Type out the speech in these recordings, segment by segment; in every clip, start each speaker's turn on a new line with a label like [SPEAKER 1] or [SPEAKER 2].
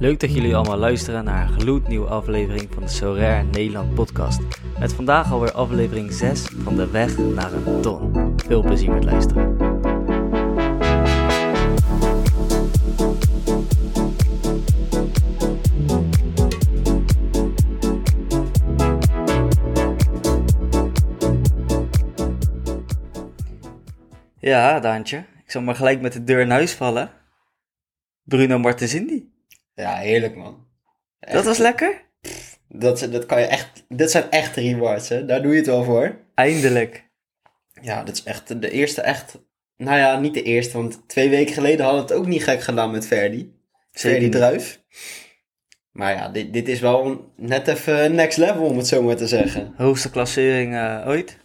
[SPEAKER 1] Leuk dat jullie allemaal luisteren naar een gloednieuwe aflevering van de Sorare Nederland podcast. Met vandaag alweer aflevering 6 van de weg naar een ton. Veel plezier met luisteren. Ja, Daantje. Ik zal maar gelijk met de deur in huis vallen. Bruno Martensindi.
[SPEAKER 2] Ja, heerlijk man. Echt,
[SPEAKER 1] Dat was lekker.
[SPEAKER 2] Dat, dat kan je echt... Dit zijn echt rewards, hè. Daar doe je het wel voor.
[SPEAKER 1] Eindelijk.
[SPEAKER 2] Ja, dat is echt de eerste echt... Nou ja, niet de eerste, want twee weken geleden hadden we het ook niet gek gedaan met Verdi.
[SPEAKER 1] Zeker
[SPEAKER 2] Verdi
[SPEAKER 1] niet.
[SPEAKER 2] Druif. Maar ja, dit, dit is wel een- net even next level, om het zo maar te zeggen.
[SPEAKER 1] Hoogste klassering eh, ooit.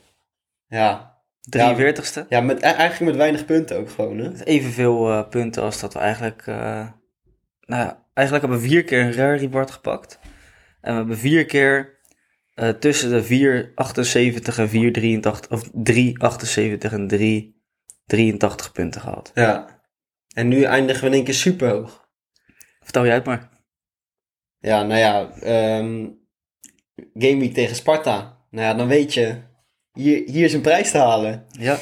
[SPEAKER 2] Ja.
[SPEAKER 1] 43ste.
[SPEAKER 2] Ja, met, e- eigenlijk met weinig punten ook gewoon, hè.
[SPEAKER 1] Evenveel eh, punten als dat we eigenlijk... eh, nou ja, eigenlijk hebben we vier keer een rare reward gepakt. En we hebben vier keer eh, tussen de 478 en 483... Of 378 en 383 punten gehad.
[SPEAKER 2] Ja. En nu eindigen we in één keer super hoog.
[SPEAKER 1] Vertel jij het maar.
[SPEAKER 2] Ja, nou ja, ehm Game Week tegen Sparta. Nou ja, dan weet je, hier, hier is een prijs te halen.
[SPEAKER 1] Ja.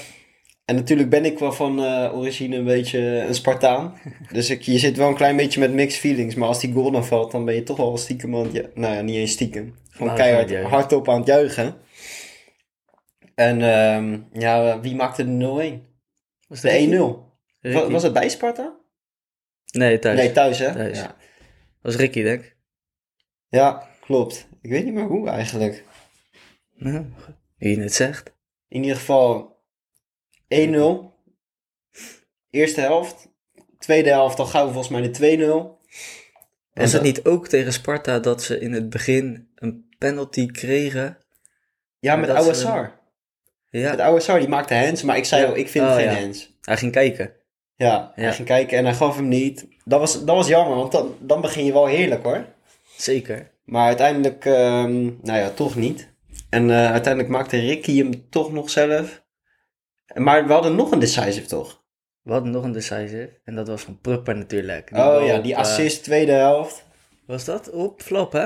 [SPEAKER 2] En natuurlijk ben ik wel van eh, origine een beetje een Spartaan. Dus ik, je zit wel een klein beetje met mixed feelings. Maar als die goal dan valt, dan ben je toch wel stiekem aan het... ju- Nou ja, niet eens stiekem. Gewoon
[SPEAKER 1] Nou, aan het
[SPEAKER 2] keihard
[SPEAKER 1] juichen.
[SPEAKER 2] hardop aan het juichen. En ehm, ja, wie maakte de 0-1?
[SPEAKER 1] Was
[SPEAKER 2] De 1-0. Was,
[SPEAKER 1] Ricky.
[SPEAKER 2] was het bij Sparta?
[SPEAKER 1] Nee, thuis.
[SPEAKER 2] Nee, thuis hè?
[SPEAKER 1] Thuis.
[SPEAKER 2] Ja.
[SPEAKER 1] was Ricky, denk ik.
[SPEAKER 2] ja, klopt. Ik weet niet meer hoe eigenlijk.
[SPEAKER 1] Nou, wie het zegt.
[SPEAKER 2] In ieder geval 1-0. Eerste helft. Tweede helft al gauw volgens mij de 2-0.
[SPEAKER 1] Was het
[SPEAKER 2] dat-
[SPEAKER 1] niet ook tegen Sparta dat ze in het begin een penalty kregen?
[SPEAKER 2] Ja,
[SPEAKER 1] Maar
[SPEAKER 2] met
[SPEAKER 1] dat ze-
[SPEAKER 2] Ouassar. Met
[SPEAKER 1] Ja,
[SPEAKER 2] Ouassar, die maakte hands, maar ik zei
[SPEAKER 1] Ja.
[SPEAKER 2] al, ik vind
[SPEAKER 1] Oh,
[SPEAKER 2] geen
[SPEAKER 1] ja.
[SPEAKER 2] hands.
[SPEAKER 1] hij ging kijken.
[SPEAKER 2] Ja,
[SPEAKER 1] Ja.
[SPEAKER 2] hij ging kijken en hij gaf hem niet. Dat was, dat was jammer, want dan, dan begin je wel heerlijk hoor.
[SPEAKER 1] Zeker.
[SPEAKER 2] Maar uiteindelijk, ehm, nou ja, toch niet. En eh, uiteindelijk maakte Ricky hem toch nog zelf. Maar we hadden nog een decisive toch?
[SPEAKER 1] We hadden nog een decisive. En dat was van Prupper natuurlijk. Die
[SPEAKER 2] Oh
[SPEAKER 1] bal
[SPEAKER 2] ja,
[SPEAKER 1] op,
[SPEAKER 2] die
[SPEAKER 1] eh,
[SPEAKER 2] assist, tweede helft.
[SPEAKER 1] was dat op flap, hè?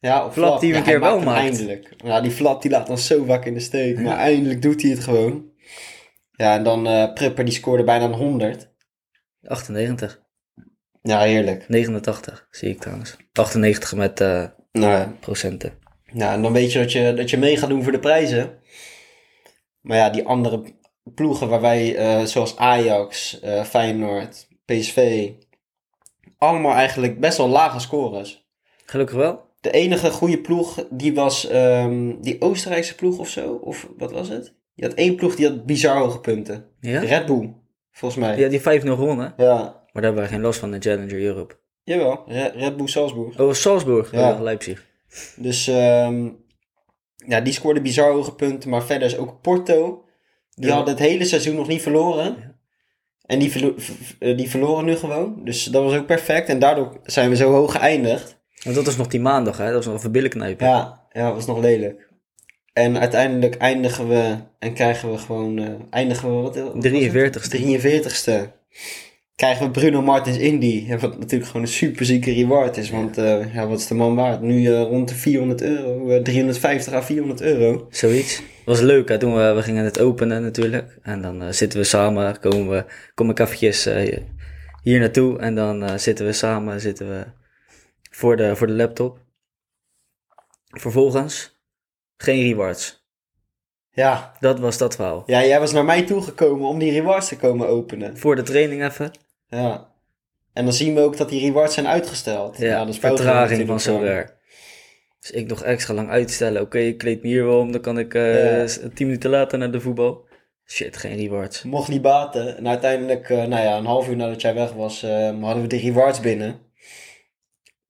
[SPEAKER 2] Ja, op
[SPEAKER 1] Flap die we
[SPEAKER 2] Ja,
[SPEAKER 1] een
[SPEAKER 2] hij
[SPEAKER 1] keer wel
[SPEAKER 2] hem
[SPEAKER 1] maakt.
[SPEAKER 2] Eindelijk. Ja, die flap die laat ons zo vaak in de steek. Maar eindelijk doet hij het gewoon. Ja, en dan eh Prepper die scoorde bijna een 100.
[SPEAKER 1] 98.
[SPEAKER 2] Ja, heerlijk.
[SPEAKER 1] 89, zie ik trouwens. 98 met eh,
[SPEAKER 2] Nou, ja.
[SPEAKER 1] procenten.
[SPEAKER 2] nou, en dan weet je dat, je dat je mee gaat doen voor de prijzen. Maar ja, die andere ploegen waar wij, eh, zoals Ajax, eh, Feyenoord, PSV, allemaal eigenlijk best wel lage scores.
[SPEAKER 1] Gelukkig wel.
[SPEAKER 2] De enige goede ploeg, die was ehm, die Oostenrijkse ploeg of zo. Of wat was het? Je had één ploeg die had bizar hoge punten.
[SPEAKER 1] Ja?
[SPEAKER 2] Red Bull, volgens mij.
[SPEAKER 1] Ja, die 5-0 gewonnen.
[SPEAKER 2] Ja,
[SPEAKER 1] Maar daar hebben we geen last van in Challenger Europe.
[SPEAKER 2] jawel. Re- Red Bull Salzburg.
[SPEAKER 1] Oh, Salzburg.
[SPEAKER 2] Ja.
[SPEAKER 1] Ja. Leipzig.
[SPEAKER 2] Dus ehm, ja, die scoorde bizar hoge punten. Maar verder is ook Porto. Die
[SPEAKER 1] Ja.
[SPEAKER 2] hadden het hele seizoen nog niet verloren. En die, verlo- v- v- eh, die verloren nu gewoon. Dus dat was ook perfect. En daardoor zijn we zo hoog geëindigd.
[SPEAKER 1] Want dat was nog die maandag, hè? Dat was nog een verbillenknijp.
[SPEAKER 2] Ja, ja, dat was nog lelijk. En uiteindelijk eindigen we en krijgen we gewoon... eh, eindigen we wat? wat was het?
[SPEAKER 1] 43ste.
[SPEAKER 2] 43ste krijgen we Bruno Martins Indy. Ja, Wat natuurlijk gewoon een superzieke reward is. Want eh, ja, wat is de man waard? Nu eh, rond de 400 euro. eh, 350 à 400 euro.
[SPEAKER 1] Zoiets. Was leuk, hè? Toen we, we gingen het openen natuurlijk. En dan eh, zitten we samen, komen we, kom ik eventjes eh, hier naartoe. En dan eh, zitten we samen, zitten we voor de, voor de laptop. Vervolgens, geen rewards.
[SPEAKER 2] Ja.
[SPEAKER 1] Dat was dat verhaal.
[SPEAKER 2] ja, jij was naar mij toegekomen om die rewards te komen openen.
[SPEAKER 1] Voor de training even.
[SPEAKER 2] Ja. En dan zien we ook dat die rewards zijn uitgesteld.
[SPEAKER 1] Ja,
[SPEAKER 2] dat is
[SPEAKER 1] vertraging
[SPEAKER 2] natuurlijk
[SPEAKER 1] van
[SPEAKER 2] gewoon-
[SPEAKER 1] zover. Dus ik nog extra lang uitstellen. Oké, ik kleed me hier wel om, dan kan ik
[SPEAKER 2] Ja.
[SPEAKER 1] 10 tien minuten later naar de voetbal. Shit, geen rewards.
[SPEAKER 2] Mocht niet baten. En uiteindelijk, eh, nou ja, een half uur nadat jij weg was, eh, hadden we de rewards binnen.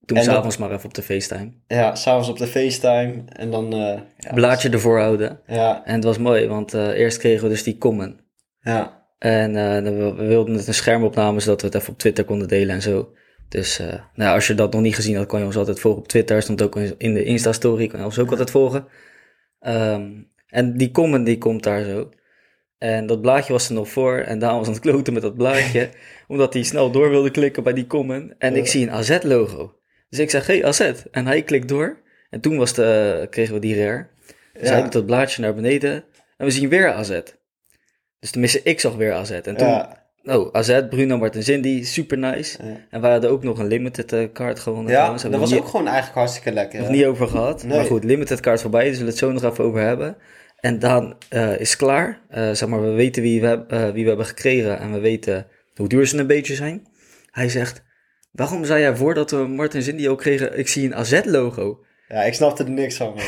[SPEAKER 1] Toen
[SPEAKER 2] En dat-
[SPEAKER 1] s'avonds maar even op de FaceTime.
[SPEAKER 2] Ja, s'avonds op de FaceTime. En dan, eh, ja,
[SPEAKER 1] Blaadje ervoor houden.
[SPEAKER 2] Ja,
[SPEAKER 1] En het was mooi, want eh, eerst kregen we dus die comment.
[SPEAKER 2] ja.
[SPEAKER 1] En eh, we we wilden het een schermopname, zodat we het even op Twitter konden delen en zo. Dus eh, nou, ja, als je dat nog niet gezien had, kon je ons altijd volgen op Twitter. Stond ook in de Insta-story, kon je ons ook altijd volgen. Ehm, en die comment die komt daar zo. En dat blaadje was er nog voor. En Daan was aan het kloten met dat blaadje. omdat hij snel door wilde klikken bij die comment. En ik
[SPEAKER 2] Ja.
[SPEAKER 1] zie een AZ-logo. Dus ik zeg, hey AZ. En hij klikt door. En toen was de, eh, kregen we die rare. Dus
[SPEAKER 2] Ja.
[SPEAKER 1] hij doet dat blaadje naar beneden. En we zien weer AZ. Dus tenminste, ik zag weer AZ. En toen,
[SPEAKER 2] ja.
[SPEAKER 1] oh, AZ, Bruno Martensindi, super nice.
[SPEAKER 2] Ja.
[SPEAKER 1] En wij hadden ook nog een limited eh, card gewonnen.
[SPEAKER 2] Ja,
[SPEAKER 1] trouwens.
[SPEAKER 2] dat
[SPEAKER 1] Hebben we niet-
[SPEAKER 2] was ook gewoon eigenlijk hartstikke lekker.
[SPEAKER 1] nog
[SPEAKER 2] hè?
[SPEAKER 1] niet over gehad.
[SPEAKER 2] Nee.
[SPEAKER 1] Maar goed, limited kaart voorbij, dus we zullen het zo nog even over hebben. En Daan eh, is klaar. Eh, zeg maar, we weten wie we, heb- eh, wie we hebben gekregen en we weten hoe duur ze een beetje zijn. Hij zegt, waarom zei jij voordat we Martin Zindio kregen, ik zie een AZ-logo?
[SPEAKER 2] Ja, ik snapte er niks van. man.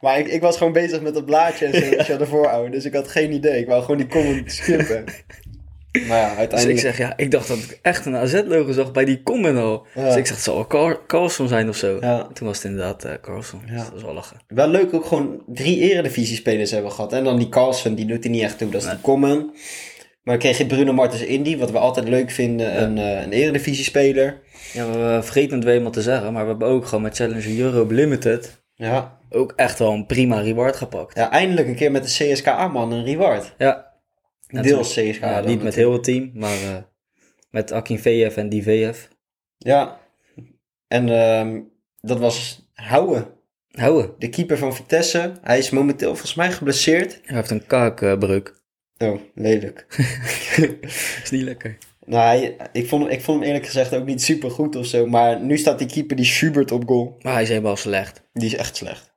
[SPEAKER 2] maar ik, ik was gewoon bezig met dat blaadje en zo, weet je wel, de voorouder. Dus ik had geen idee. Ik wou gewoon die comment skippen. maar ja,
[SPEAKER 1] Dus ik
[SPEAKER 2] uiteindelijk...
[SPEAKER 1] zeg, ja, ik dacht dat ik echt een AZ-logo zag bij die comment al.
[SPEAKER 2] Ja.
[SPEAKER 1] Dus ik zeg, het zal wel Car- Carlson zijn of zo.
[SPEAKER 2] Ja.
[SPEAKER 1] Toen was het inderdaad eh Carlson.
[SPEAKER 2] Ja.
[SPEAKER 1] Dus dat was wel lachen.
[SPEAKER 2] Wel leuk ook gewoon drie eredivisiespelers hebben gehad. En dan die Carlsen, die doet er niet echt toe. Dat is die Common. Maar dan kreeg je Bruno Martens Indy, wat we altijd leuk vinden. Een, eh, een eredivisiespeler.
[SPEAKER 1] Ja, we we vergeten het weer iemand te zeggen, maar we hebben ook gewoon met Challenger Europe Limited
[SPEAKER 2] Ja.
[SPEAKER 1] ook echt wel een prima reward gepakt.
[SPEAKER 2] ja, eindelijk een keer met de CSKA-man een reward.
[SPEAKER 1] ja
[SPEAKER 2] Deels CSKA.
[SPEAKER 1] Ja,
[SPEAKER 2] dan
[SPEAKER 1] niet met
[SPEAKER 2] natuurlijk.
[SPEAKER 1] heel het team, maar eh, met Akin VF en die VF.
[SPEAKER 2] Ja. En ehm, dat was Houwe,
[SPEAKER 1] Houden.
[SPEAKER 2] de keeper van Vitesse. Hij is momenteel volgens mij geblesseerd.
[SPEAKER 1] Hij heeft een kaakbreuk.
[SPEAKER 2] Oh, lelijk.
[SPEAKER 1] Is niet lekker.
[SPEAKER 2] nou, hij- ik, vond, hem- ik vond hem eerlijk gezegd ook niet super goed of zo. Maar nu staat die keeper, die Schubert, op goal.
[SPEAKER 1] Maar hij is helemaal slecht.
[SPEAKER 2] Die is echt slecht.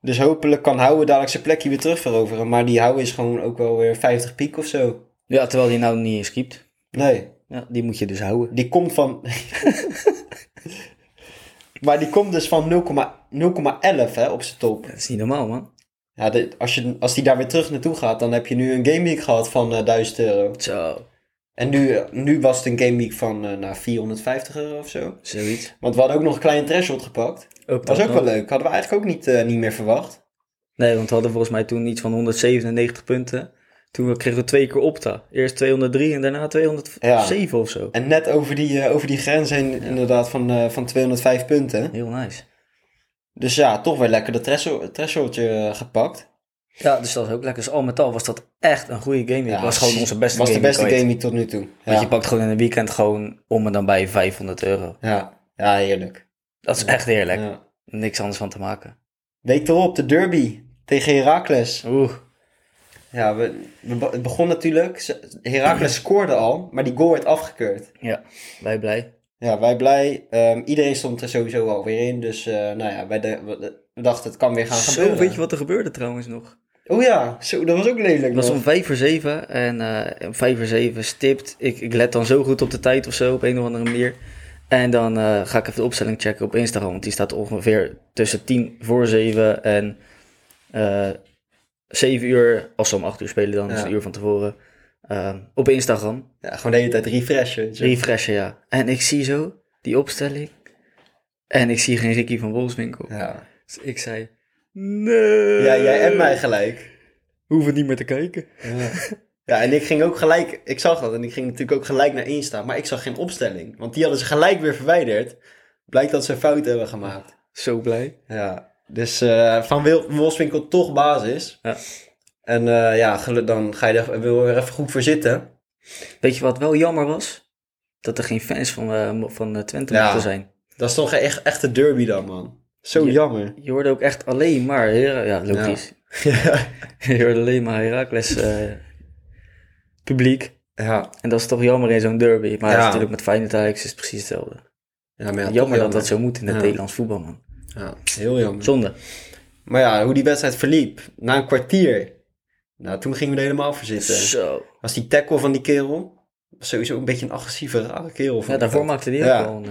[SPEAKER 2] Dus hopelijk kan Houwe dadelijk zijn plekje weer terug veroveren. Maar die Houwe is gewoon ook wel weer 50 piek of zo.
[SPEAKER 1] Ja, terwijl hij nou niet eens keept.
[SPEAKER 2] Nee,
[SPEAKER 1] Ja, die moet je dus houden.
[SPEAKER 2] die komt van... maar die komt dus van 0,11 hè, op zijn top.
[SPEAKER 1] Dat is niet normaal, man.
[SPEAKER 2] Ja, dit- als, je, als die daar weer terug naartoe gaat, dan heb je nu een Game Week gehad van eh 1000 euro.
[SPEAKER 1] Zo,
[SPEAKER 2] En nu, nu was het een Game Week van eh nou, 450 euro of zo.
[SPEAKER 1] zoiets.
[SPEAKER 2] Want we hadden ook nog een kleine threshold gepakt.
[SPEAKER 1] Ook
[SPEAKER 2] Dat was ook
[SPEAKER 1] nog.
[SPEAKER 2] wel leuk. Hadden we eigenlijk ook niet, eh, niet meer verwacht.
[SPEAKER 1] Nee, want we hadden volgens mij toen iets van 197 punten. Toen kregen we twee keer opta. Eerst 203 en daarna 207 of zo.
[SPEAKER 2] En net over die, eh, over die grens heen inderdaad van, eh, van 205 punten.
[SPEAKER 1] Heel nice.
[SPEAKER 2] Dus ja, toch weer lekker dat threshold- thresholdje eh, gepakt.
[SPEAKER 1] Ja, dus dat was ook lekker. Dus al met al was dat echt een goede game.
[SPEAKER 2] Ja,
[SPEAKER 1] Het was gewoon onze beste
[SPEAKER 2] was
[SPEAKER 1] game.
[SPEAKER 2] de beste
[SPEAKER 1] ooit.
[SPEAKER 2] game die tot nu toe.
[SPEAKER 1] Want je
[SPEAKER 2] Ja.
[SPEAKER 1] pakt gewoon in een weekend gewoon om en dan bij 500 euro.
[SPEAKER 2] Ja. ja, heerlijk.
[SPEAKER 1] Dat is echt heerlijk.
[SPEAKER 2] Ja.
[SPEAKER 1] Niks anders van te maken.
[SPEAKER 2] Week erop, de derby tegen Heracles.
[SPEAKER 1] Oeh.
[SPEAKER 2] Ja, we, we be- het begon natuurlijk. ze- Heracles scoorde al, maar die goal werd afgekeurd.
[SPEAKER 1] Ja, wij blij.
[SPEAKER 2] Ja, wij blij. Ehm, iedereen stond er sowieso alweer in. Dus eh, nou ja, wij de- we, we dachten het kan weer gaan
[SPEAKER 1] Zo,
[SPEAKER 2] gebeuren.
[SPEAKER 1] weet je wat er gebeurde trouwens nog?
[SPEAKER 2] Oh ja, zo, dat was ook lelijk.
[SPEAKER 1] Het was
[SPEAKER 2] nog.
[SPEAKER 1] om 5 voor 7 en eh om 5 voor 7 stipt. Ik, ik let dan zo goed op de tijd of zo, op een of andere manier. En dan eh, ga ik even de opstelling checken op Instagram, want die staat ongeveer tussen 10 voor 7 en eh 7 uur, als ze om 8 uur spelen dan, dus
[SPEAKER 2] Ja.
[SPEAKER 1] een uur van tevoren, eh, op Instagram.
[SPEAKER 2] Ja, gewoon de hele tijd refreshen. weet je.
[SPEAKER 1] Refreshen, ja. En ik zie zo die opstelling. En ik zie geen Ricky van Wolfswinkel.
[SPEAKER 2] Ja.
[SPEAKER 1] Dus ik zei, nee.
[SPEAKER 2] ja, jij en mij gelijk.
[SPEAKER 1] Hoef het niet meer te kijken.
[SPEAKER 2] Eh. Ja. en ik ging ook gelijk, ik zag dat en ik ging natuurlijk ook gelijk naar Insta, maar ik zag geen opstelling. Want die hadden ze gelijk weer verwijderd. Blijkt dat ze een fout hebben gemaakt.
[SPEAKER 1] Zo blij.
[SPEAKER 2] Ja. Dus eh, van Wil Wolfswinkel toch basis.
[SPEAKER 1] Ja.
[SPEAKER 2] En eh, ja, gelu- dan ga je er wil er even goed voor zitten.
[SPEAKER 1] Weet je wat wel jammer was? Dat er geen fans van, eh, mo- van eh, Twente
[SPEAKER 2] Ja.
[SPEAKER 1] mochten zijn.
[SPEAKER 2] Dat is toch een echt, echte derby dan, man. Zo
[SPEAKER 1] Ja.
[SPEAKER 2] jammer.
[SPEAKER 1] Je hoorde ook echt alleen maar, Hera- ja logisch. je hoorde alleen maar Heracles eh, publiek.
[SPEAKER 2] ja.
[SPEAKER 1] En dat is toch jammer in zo'n derby. Maar
[SPEAKER 2] Ja.
[SPEAKER 1] natuurlijk met Feyenoord Ajax is het precies hetzelfde.
[SPEAKER 2] Ja, maar ja, toch
[SPEAKER 1] jammer dat dat zo moet in het
[SPEAKER 2] Ja.
[SPEAKER 1] Nederlands voetbal, man.
[SPEAKER 2] Ja, heel jammer.
[SPEAKER 1] Zonde.
[SPEAKER 2] Maar ja, hoe die wedstrijd verliep, na een kwartier. Nou, toen gingen we er helemaal voor zitten.
[SPEAKER 1] Zo.
[SPEAKER 2] Was die tackle van die kerel, was sowieso een beetje een agressieve, rare kerel. vond
[SPEAKER 1] Ja,
[SPEAKER 2] ik
[SPEAKER 1] daarvoor
[SPEAKER 2] dat.
[SPEAKER 1] maakte die ook
[SPEAKER 2] Ja.
[SPEAKER 1] wel een... eh,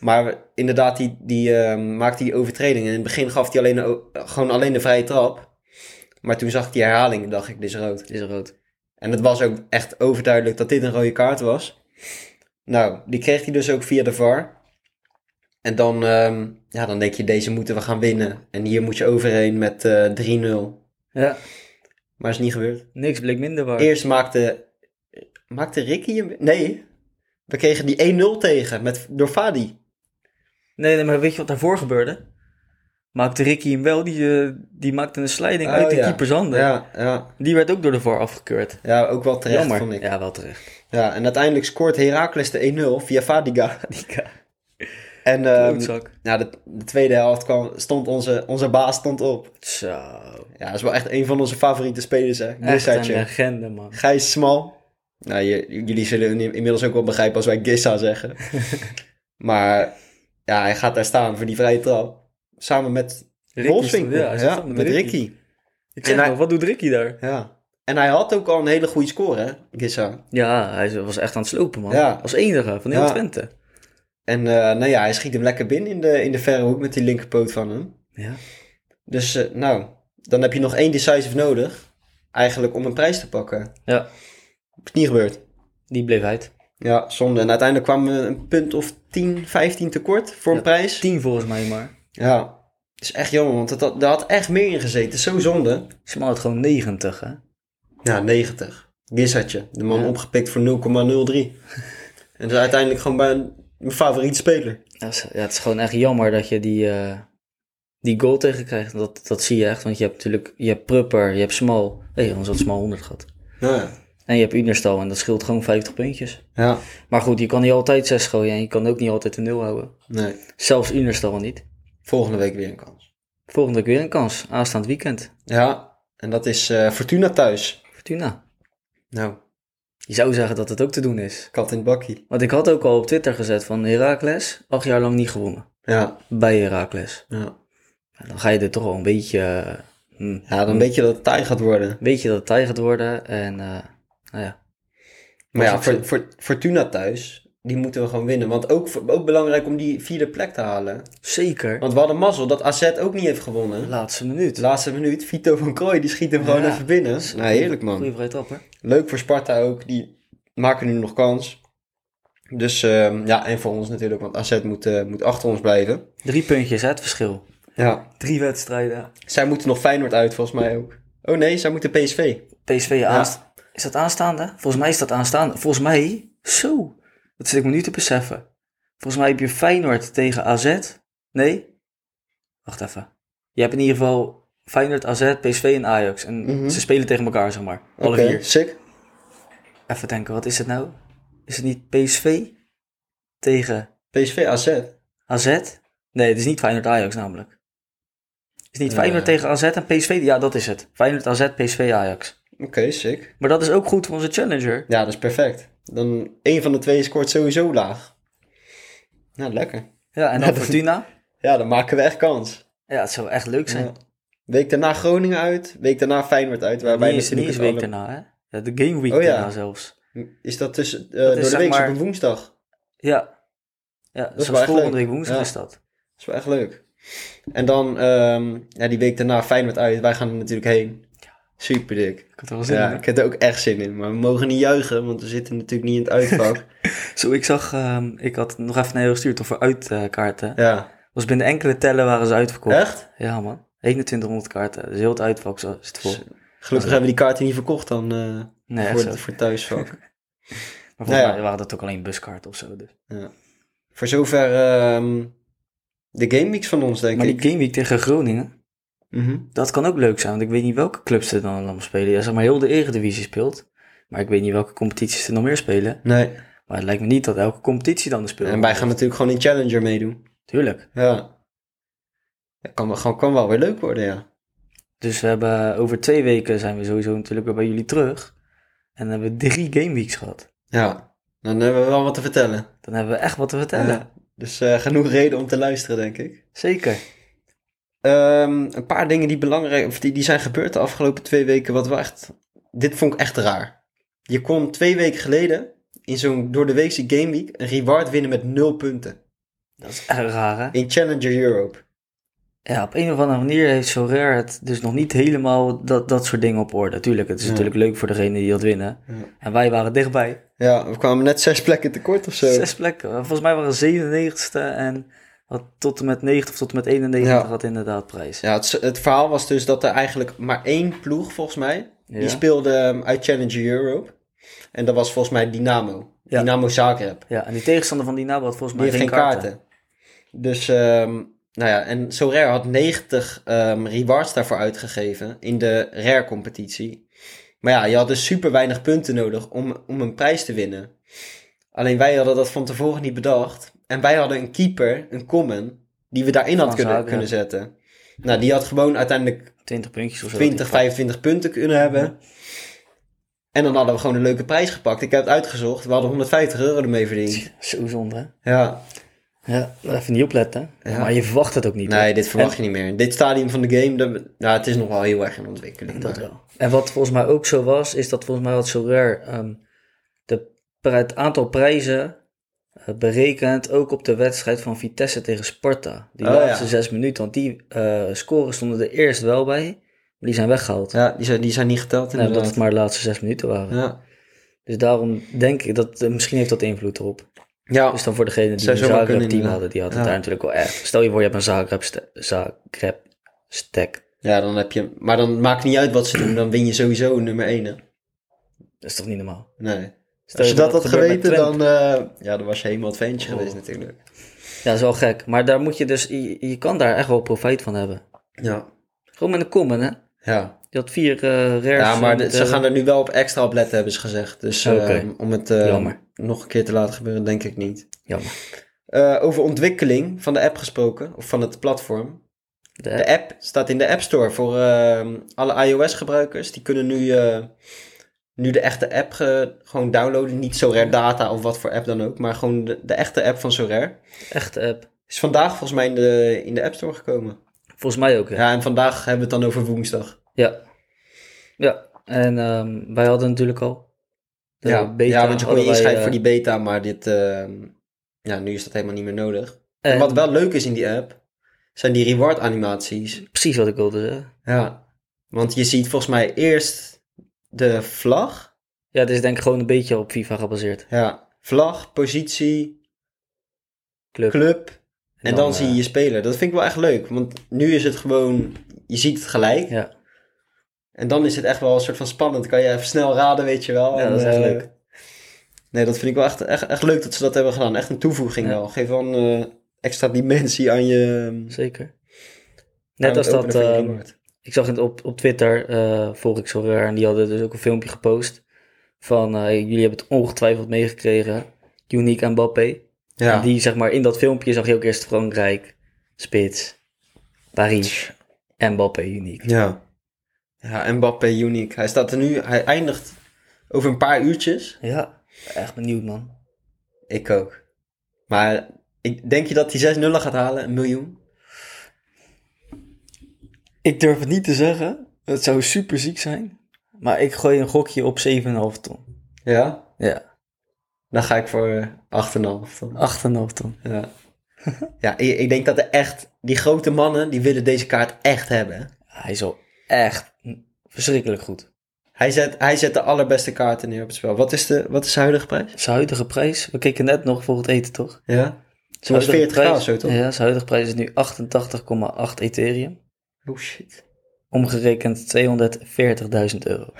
[SPEAKER 2] Maar we- inderdaad, die, die eh, maakte die overtreding. En in het begin gaf hij alleen, de o- gewoon alleen de vrije trap. Maar toen zag ik die herhaling en dacht ik, dit is rood.
[SPEAKER 1] is rood.
[SPEAKER 2] En het was ook echt overduidelijk dat dit een rode kaart was. Nou, die kreeg hij dus ook via de VAR. En dan, ehm, ja, dan denk je, deze moeten we gaan winnen. En hier moet je overheen met eh, 3-0.
[SPEAKER 1] Ja,
[SPEAKER 2] Maar is niet gebeurd.
[SPEAKER 1] niks bleek minder waar.
[SPEAKER 2] Eerst maakte, maakte Ricky hem... Nee, we kregen die 1-0 tegen met, door Fadi.
[SPEAKER 1] Nee, nee, maar weet je wat daarvoor gebeurde? maakte Ricky hem wel. Die, eh, die maakte een slijding
[SPEAKER 2] Oh,
[SPEAKER 1] uit de
[SPEAKER 2] ja.
[SPEAKER 1] keepers handen.
[SPEAKER 2] Ja, ja,
[SPEAKER 1] Die werd ook door de VAR afgekeurd.
[SPEAKER 2] ja, ook wel terecht
[SPEAKER 1] Jammer.
[SPEAKER 2] vond ik. Ja.
[SPEAKER 1] Ja, wel terecht.
[SPEAKER 2] en uiteindelijk scoort Heracles de 1-0 via Fadiga.
[SPEAKER 1] Die ka-
[SPEAKER 2] En ehm,
[SPEAKER 1] klootzak.
[SPEAKER 2] nou, de, de tweede helft kwam, stond onze, onze baas stond op.
[SPEAKER 1] Zo.
[SPEAKER 2] Ja, dat is wel echt een van onze favoriete spelers, hè.
[SPEAKER 1] Echt een
[SPEAKER 2] Gissatje.
[SPEAKER 1] legende, man.
[SPEAKER 2] Gijs Smal. Nou, je- jullie zullen in- inmiddels ook wel begrijpen als wij Gissa zeggen. maar ja, hij gaat daar staan voor die vrije trap. Samen met
[SPEAKER 1] Ricky
[SPEAKER 2] Wolfswinkel.
[SPEAKER 1] stond- ja,
[SPEAKER 2] Ja,
[SPEAKER 1] hij zat samen
[SPEAKER 2] met,
[SPEAKER 1] met
[SPEAKER 2] Ricky.
[SPEAKER 1] Ricky. Ik zeg
[SPEAKER 2] En hij-
[SPEAKER 1] nog, wat doet Ricky daar?
[SPEAKER 2] Ja. En hij had ook al een hele goede score, hè, Gissa.
[SPEAKER 1] Ja, hij was echt aan het slopen, man.
[SPEAKER 2] Ja.
[SPEAKER 1] Als enige van heel
[SPEAKER 2] Ja.
[SPEAKER 1] Twente.
[SPEAKER 2] En eh, nou ja, hij schiet hem lekker binnen in de, in de verre hoek met die linkerpoot van hem.
[SPEAKER 1] Ja.
[SPEAKER 2] Dus eh, nou, dan heb je nog één decisive nodig. Eigenlijk om een prijs te pakken.
[SPEAKER 1] ja,
[SPEAKER 2] Is niet gebeurd.
[SPEAKER 1] die bleef uit.
[SPEAKER 2] Ja, zonde. En uiteindelijk kwamen we een punt of 10, 15 tekort voor een
[SPEAKER 1] Ja,
[SPEAKER 2] prijs.
[SPEAKER 1] Tien volgens mij maar.
[SPEAKER 2] Ja, dat is echt jammer, want het had, er had echt meer in gezeten. Zo zonde.
[SPEAKER 1] Smal had gewoon 90, hè?
[SPEAKER 2] Ja, 90. Gissatje. De man
[SPEAKER 1] Ja.
[SPEAKER 2] opgepikt voor 0,03. en dat is uiteindelijk gewoon bij een- mijn favoriete speler.
[SPEAKER 1] Dat is- ja, het is gewoon echt jammer dat je die, eh, die goal tegenkrijgt. Dat, dat zie je echt, want je hebt natuurlijk... Je hebt Prupper, je hebt Smal. Hé, hey, ons had Smal 100 gehad.
[SPEAKER 2] Nou Ja.
[SPEAKER 1] En je hebt Unerstal en dat scheelt gewoon 50 puntjes.
[SPEAKER 2] ja.
[SPEAKER 1] Maar goed, je kan niet altijd 6 gooien en je kan ook niet altijd een 0 houden.
[SPEAKER 2] Nee.
[SPEAKER 1] Zelfs Unerstal niet.
[SPEAKER 2] Volgende week weer een kans.
[SPEAKER 1] Volgende week weer een kans, aanstaand weekend.
[SPEAKER 2] Ja. En dat is eh, Fortuna thuis.
[SPEAKER 1] Fortuna.
[SPEAKER 2] Nou,
[SPEAKER 1] Je zou zeggen dat het ook te doen is.
[SPEAKER 2] kat in het bakkie.
[SPEAKER 1] Want ik had ook al op Twitter gezet van Heracles, acht jaar lang niet gewonnen.
[SPEAKER 2] Ja.
[SPEAKER 1] Bij Heracles.
[SPEAKER 2] Ja,
[SPEAKER 1] Ja, Dan ga je er toch al een beetje... eh, hm,
[SPEAKER 2] ja dan weet je dat het taai gaat worden.
[SPEAKER 1] Weet je dat het taai gaat worden en... eh, nou ja.
[SPEAKER 2] Maar ja,
[SPEAKER 1] Was het
[SPEAKER 2] voor, voor, Fortuna thuis, die moeten we gewoon winnen. Want ook, ook belangrijk om die vierde plek te halen.
[SPEAKER 1] Zeker.
[SPEAKER 2] Want we hadden mazzel dat AZ ook niet heeft gewonnen.
[SPEAKER 1] Laatste minuut.
[SPEAKER 2] De laatste minuut, Vito van Krooi, die schiet hem gewoon
[SPEAKER 1] Ja.
[SPEAKER 2] even binnen. Nou, heerlijk man.
[SPEAKER 1] Goeie vrije trap, hè?
[SPEAKER 2] Leuk voor Sparta ook, die maken nu nog kans. Dus ehm, ja, en voor ons natuurlijk, want AZ moet, eh, moet achter ons blijven.
[SPEAKER 1] Drie puntjes, hè, het verschil.
[SPEAKER 2] Ja.
[SPEAKER 1] Drie wedstrijden.
[SPEAKER 2] Zij moeten nog Feyenoord uit, volgens mij ook. Oh nee, zij moeten PSV.
[SPEAKER 1] PSV aanst... Is dat aanstaande? Volgens mij is dat aanstaande. Volgens mij... Zo. Dat zit ik me nu te beseffen. Volgens mij heb je Feyenoord tegen AZ. Nee? Wacht even. Je hebt in ieder geval Feyenoord, AZ, PSV en Ajax. En
[SPEAKER 2] Mhm.
[SPEAKER 1] ze spelen tegen elkaar, zeg maar. Alle
[SPEAKER 2] Oké,
[SPEAKER 1] vier.
[SPEAKER 2] sick.
[SPEAKER 1] Even denken, wat is het nou? Is het niet PSV tegen
[SPEAKER 2] PSV, AZ.
[SPEAKER 1] AZ? Nee, het is niet Feyenoord-Ajax namelijk. Het is niet
[SPEAKER 2] Eh.
[SPEAKER 1] Feyenoord tegen AZ en PSV? Ja, dat is het. Feyenoord-AZ, PSV-Ajax.
[SPEAKER 2] Oké, sick.
[SPEAKER 1] Maar dat is ook goed voor onze challenger.
[SPEAKER 2] Ja, dat is perfect. Dan één van de twee scoort sowieso laag. Nou, lekker.
[SPEAKER 1] Ja, en dan
[SPEAKER 2] Ja, dat-
[SPEAKER 1] Fortuna.
[SPEAKER 2] Ja, dan maken we echt kans.
[SPEAKER 1] Ja, het zou echt leuk zijn.
[SPEAKER 2] Ja. Week daarna Groningen uit, week daarna Feyenoord uit. Waarbij
[SPEAKER 1] niet eens, niet
[SPEAKER 2] natuurlijk
[SPEAKER 1] eens
[SPEAKER 2] het
[SPEAKER 1] week
[SPEAKER 2] alle-
[SPEAKER 1] daarna, hè? Ja, de game week
[SPEAKER 2] Oh, ja.
[SPEAKER 1] daarna zelfs.
[SPEAKER 2] Is dat tussen eh,
[SPEAKER 1] is
[SPEAKER 2] door de
[SPEAKER 1] zeg
[SPEAKER 2] week
[SPEAKER 1] maar-
[SPEAKER 2] op een woensdag?
[SPEAKER 1] Ja. Ja,
[SPEAKER 2] is
[SPEAKER 1] dat
[SPEAKER 2] wel
[SPEAKER 1] is
[SPEAKER 2] echt
[SPEAKER 1] volgende
[SPEAKER 2] leuk.
[SPEAKER 1] week woensdag
[SPEAKER 2] Ja.
[SPEAKER 1] is dat.
[SPEAKER 2] Dat is wel echt leuk. En dan ehm, ja, die week daarna Feyenoord uit. Wij gaan er natuurlijk heen. Super dik.
[SPEAKER 1] Ik had er wel zin
[SPEAKER 2] Ja,
[SPEAKER 1] in.
[SPEAKER 2] ik heb er ook echt zin in. Maar we mogen niet juichen, want we zitten natuurlijk niet in het uitvak.
[SPEAKER 1] Zo, ik zag, ehm, ik had nog even naar jou gestuurd over uitkaarten.
[SPEAKER 2] ja.
[SPEAKER 1] was binnen enkele tellen waren ze uitverkocht.
[SPEAKER 2] Echt?
[SPEAKER 1] Ja, man. 2100 kaarten. Dus heel het uitvak zo- zit vol.
[SPEAKER 2] Zo. Gelukkig hebben we die kaarten niet verkocht dan eh,
[SPEAKER 1] Nee, echt
[SPEAKER 2] voor,
[SPEAKER 1] zo.
[SPEAKER 2] het- voor het thuisvak.
[SPEAKER 1] Maar
[SPEAKER 2] Nou
[SPEAKER 1] volgens
[SPEAKER 2] ja.
[SPEAKER 1] mij waren dat ook alleen buskaarten of zo. Dus.
[SPEAKER 2] voor zover ehm, de game mix van ons, denk
[SPEAKER 1] Maar
[SPEAKER 2] ik.
[SPEAKER 1] die gameweek tegen Groningen,
[SPEAKER 2] Mhm.
[SPEAKER 1] dat kan ook leuk zijn. Want ik weet niet welke clubs er dan allemaal spelen. Ja, zeg maar heel de Eredivisie speelt. Maar ik weet niet welke competities er nog meer spelen.
[SPEAKER 2] Nee.
[SPEAKER 1] Maar het lijkt me niet dat elke competitie dan er speelt.
[SPEAKER 2] En wij gaan natuurlijk gewoon in Challenger meedoen.
[SPEAKER 1] Tuurlijk.
[SPEAKER 2] Ja. Dat kan, wel- gewoon, kan wel weer leuk worden, ja.
[SPEAKER 1] Dus we hebben over twee weken zijn we sowieso natuurlijk weer bij jullie terug. En dan hebben we drie gameweeks gehad.
[SPEAKER 2] Ja. Dan hebben we wel wat te vertellen.
[SPEAKER 1] Dan hebben we echt wat te vertellen.
[SPEAKER 2] Ja. Dus eh, genoeg reden om te luisteren, denk ik.
[SPEAKER 1] Zeker.
[SPEAKER 2] Ehm, een paar dingen die belangrijk of die, die zijn gebeurd de afgelopen twee weken, wat wel echt. Dit vond ik echt raar. Je kon twee weken geleden in zo'n door de weekse Game Week een reward winnen met nul punten.
[SPEAKER 1] Dat is erg raar, hè?
[SPEAKER 2] In Challenger Europe.
[SPEAKER 1] Ja, op een of andere manier heeft Sorare het dus nog niet helemaal dat, dat soort dingen op orde. Tuurlijk, het is
[SPEAKER 2] Ja.
[SPEAKER 1] natuurlijk leuk voor degene die dat winnen.
[SPEAKER 2] Ja.
[SPEAKER 1] En wij waren dichtbij.
[SPEAKER 2] Ja, we kwamen net zes plekken tekort of zo.
[SPEAKER 1] Zes plekken. Volgens mij waren we 97ste en had tot en met 90 of tot en met 91
[SPEAKER 2] Ja.
[SPEAKER 1] had inderdaad prijs.
[SPEAKER 2] Ja, het, het verhaal was dus dat er eigenlijk maar één ploeg, volgens mij,
[SPEAKER 1] Ja.
[SPEAKER 2] die speelde ehm, uit Challenger Europe. En dat was volgens mij Dynamo.
[SPEAKER 1] Ja.
[SPEAKER 2] Dynamo Zagreb.
[SPEAKER 1] Ja, en die tegenstander van Dynamo had volgens
[SPEAKER 2] Die
[SPEAKER 1] mij
[SPEAKER 2] heeft geen kaarten. Dus ehm, Nou ja, en zo Rare had 90 ehm, rewards daarvoor uitgegeven in de Rare-competitie. Maar ja, je had dus super weinig punten nodig om, om een prijs te winnen. Alleen wij hadden dat van tevoren niet bedacht. En wij hadden een keeper, een common, die we daarin hadden
[SPEAKER 1] Van
[SPEAKER 2] kunnen,
[SPEAKER 1] Zaken.
[SPEAKER 2] kunnen zetten. Nou, die had gewoon uiteindelijk
[SPEAKER 1] 20 puntjes of zo.
[SPEAKER 2] 20, 25 punten kunnen hebben. En dan hadden we gewoon een leuke prijs gepakt. Ik heb het uitgezocht. We hadden 150 euro ermee verdiend.
[SPEAKER 1] Zo zonde, hè?
[SPEAKER 2] Ja.
[SPEAKER 1] Ja, maar even niet opletten.
[SPEAKER 2] Ja.
[SPEAKER 1] Maar je verwacht het ook niet.
[SPEAKER 2] Nee,
[SPEAKER 1] hoor.
[SPEAKER 2] dit verwacht je niet meer. In dit stadium van de game, dat, nou, het is nog wel heel erg in ontwikkeling.
[SPEAKER 1] Dat
[SPEAKER 2] maar-
[SPEAKER 1] wel. En wat volgens mij ook zo was, is dat volgens mij had Sorare ehm de, pri- het aantal prijzen eh, berekend ook op de wedstrijd van Vitesse tegen Sparta. Die
[SPEAKER 2] Oh,
[SPEAKER 1] laatste
[SPEAKER 2] ja.
[SPEAKER 1] zes minuten, want die eh scoren stonden er eerst wel bij, maar die zijn weggehaald.
[SPEAKER 2] Ja, die zijn, die zijn niet geteld
[SPEAKER 1] Nee, omdat
[SPEAKER 2] inderdaad.
[SPEAKER 1] het maar de laatste zes minuten waren.
[SPEAKER 2] Ja,
[SPEAKER 1] Dus daarom denk ik dat, eh, misschien heeft dat invloed erop.
[SPEAKER 2] ja.
[SPEAKER 1] Dus dan voor degene die
[SPEAKER 2] Zou
[SPEAKER 1] een
[SPEAKER 2] zomaar kunnen,
[SPEAKER 1] Zagreb-team
[SPEAKER 2] inderdaad.
[SPEAKER 1] hadden, die hadden
[SPEAKER 2] Ja.
[SPEAKER 1] daar natuurlijk wel echt. Stel je voor, je hebt een Zagreb-stack. Zagreb stack.
[SPEAKER 2] ja, dan heb je... Maar dan maakt niet uit wat ze doen. Dan win je sowieso nummer 1.
[SPEAKER 1] dat is toch niet normaal?
[SPEAKER 2] Nee.
[SPEAKER 1] Stel
[SPEAKER 2] Als je dat
[SPEAKER 1] voor
[SPEAKER 2] had
[SPEAKER 1] gebeurt bij
[SPEAKER 2] geweten,
[SPEAKER 1] Twente.
[SPEAKER 2] dan... eh, ja, dan was je helemaal het ventje geweest natuurlijk.
[SPEAKER 1] Ja, dat is wel gek. Maar daar moet je dus, je, je kan daar echt wel profijt van hebben.
[SPEAKER 2] Ja.
[SPEAKER 1] Gewoon met een common, hè?
[SPEAKER 2] Ja.
[SPEAKER 1] Je had vier eh rares.
[SPEAKER 2] Ja, maar
[SPEAKER 1] met,
[SPEAKER 2] de- ze
[SPEAKER 1] eh,
[SPEAKER 2] gaan er nu wel op extra op letten, hebben ze gezegd. Dus eh,
[SPEAKER 1] Oké.
[SPEAKER 2] om het eh,
[SPEAKER 1] Jammer.
[SPEAKER 2] nog een keer te laten gebeuren, denk ik niet.
[SPEAKER 1] Jammer.
[SPEAKER 2] Eh, over ontwikkeling van de app gesproken, of van het platform.
[SPEAKER 1] De
[SPEAKER 2] De app staat in de App Store voor eh, alle iOS-gebruikers. Die kunnen nu, eh, nu de echte app ge- gewoon downloaden. Niet Sorare Data of wat voor app dan ook, maar gewoon de, de echte app van Sorare.
[SPEAKER 1] echte app.
[SPEAKER 2] Is vandaag volgens mij in de, in de App Store gekomen.
[SPEAKER 1] Volgens mij ook, ja. Ja.
[SPEAKER 2] Ja, en vandaag hebben we het dan over woensdag.
[SPEAKER 1] Ja. En ehm, wij hadden natuurlijk al. de
[SPEAKER 2] ja,
[SPEAKER 1] beta,
[SPEAKER 2] ja, want je kon je
[SPEAKER 1] allebei,
[SPEAKER 2] inschrijven
[SPEAKER 1] eh,
[SPEAKER 2] voor die beta, maar dit, eh, ja, nu is dat helemaal niet meer nodig. En
[SPEAKER 1] eh, en-
[SPEAKER 2] wat wel leuk is in die app, zijn die reward animaties.
[SPEAKER 1] Precies wat ik wilde zeggen.
[SPEAKER 2] Ja. Want je ziet volgens mij eerst de vlag.
[SPEAKER 1] Ja, dit is denk ik gewoon een beetje op FIFA gebaseerd.
[SPEAKER 2] Ja. Vlag, positie,
[SPEAKER 1] Club.
[SPEAKER 2] club. En, dan, zie je
[SPEAKER 1] eh,
[SPEAKER 2] je speler. Dat vind ik wel echt leuk. Want nu is het gewoon, je ziet het gelijk.
[SPEAKER 1] Ja.
[SPEAKER 2] En dan is het echt wel een soort van spannend. Kan je even snel raden, weet je wel.
[SPEAKER 1] Ja,
[SPEAKER 2] En,
[SPEAKER 1] dat is echt
[SPEAKER 2] eh,
[SPEAKER 1] leuk.
[SPEAKER 2] Nee, dat vind ik wel echt, echt, echt leuk dat ze dat hebben gedaan. Echt een toevoeging
[SPEAKER 1] Ja.
[SPEAKER 2] wel. Geef wel een eh, extra dimensie aan je...
[SPEAKER 1] Zeker.
[SPEAKER 2] aan
[SPEAKER 1] Net
[SPEAKER 2] het
[SPEAKER 1] als dat.
[SPEAKER 2] openen van je
[SPEAKER 1] ehm,
[SPEAKER 2] reward.
[SPEAKER 1] ik zag het op, op Twitter, eh volg ik zo raar, en die hadden dus ook een filmpje gepost. Van eh, jullie hebben het ongetwijfeld meegekregen. Unique en Mbappé.
[SPEAKER 2] Ja.
[SPEAKER 1] En die zeg maar in dat filmpje zag je ook eerst Frankrijk, Spits, Parijs en Mbappé Unique.
[SPEAKER 2] Ja. Ja, Mbappé uniek. Hij staat er nu, hij eindigt over een paar uurtjes.
[SPEAKER 1] Ja, echt benieuwd man.
[SPEAKER 2] Ik ook. Maar ik, denk je dat hij 6 nullen gaat halen? Een miljoen?
[SPEAKER 1] Ik durf het niet te zeggen. Het zou super ziek zijn. Maar ik gooi een gokje op 7,5 ton.
[SPEAKER 2] Ja?
[SPEAKER 1] Ja,
[SPEAKER 2] Dan ga ik voor eh, 8,5 dan.
[SPEAKER 1] 8,5 ton.
[SPEAKER 2] Ja. ja, ik, ik denk dat er echt, die grote mannen, die willen deze kaart echt hebben.
[SPEAKER 1] Hij is al echt verschrikkelijk goed.
[SPEAKER 2] Hij zet, hij zet de allerbeste kaarten neer op het spel. Wat is de, wat is de huidige prijs?
[SPEAKER 1] Zijn huidige prijs, we keken net nog voor het eten toch?
[SPEAKER 2] Ja?
[SPEAKER 1] Zijn
[SPEAKER 2] Dat is
[SPEAKER 1] huidige
[SPEAKER 2] 40k
[SPEAKER 1] prijs-
[SPEAKER 2] zo, toch?
[SPEAKER 1] Ja, zijn huidige prijs is nu 88,8 Ethereum.
[SPEAKER 2] Oh shit.
[SPEAKER 1] Omgerekend 240.000 euro.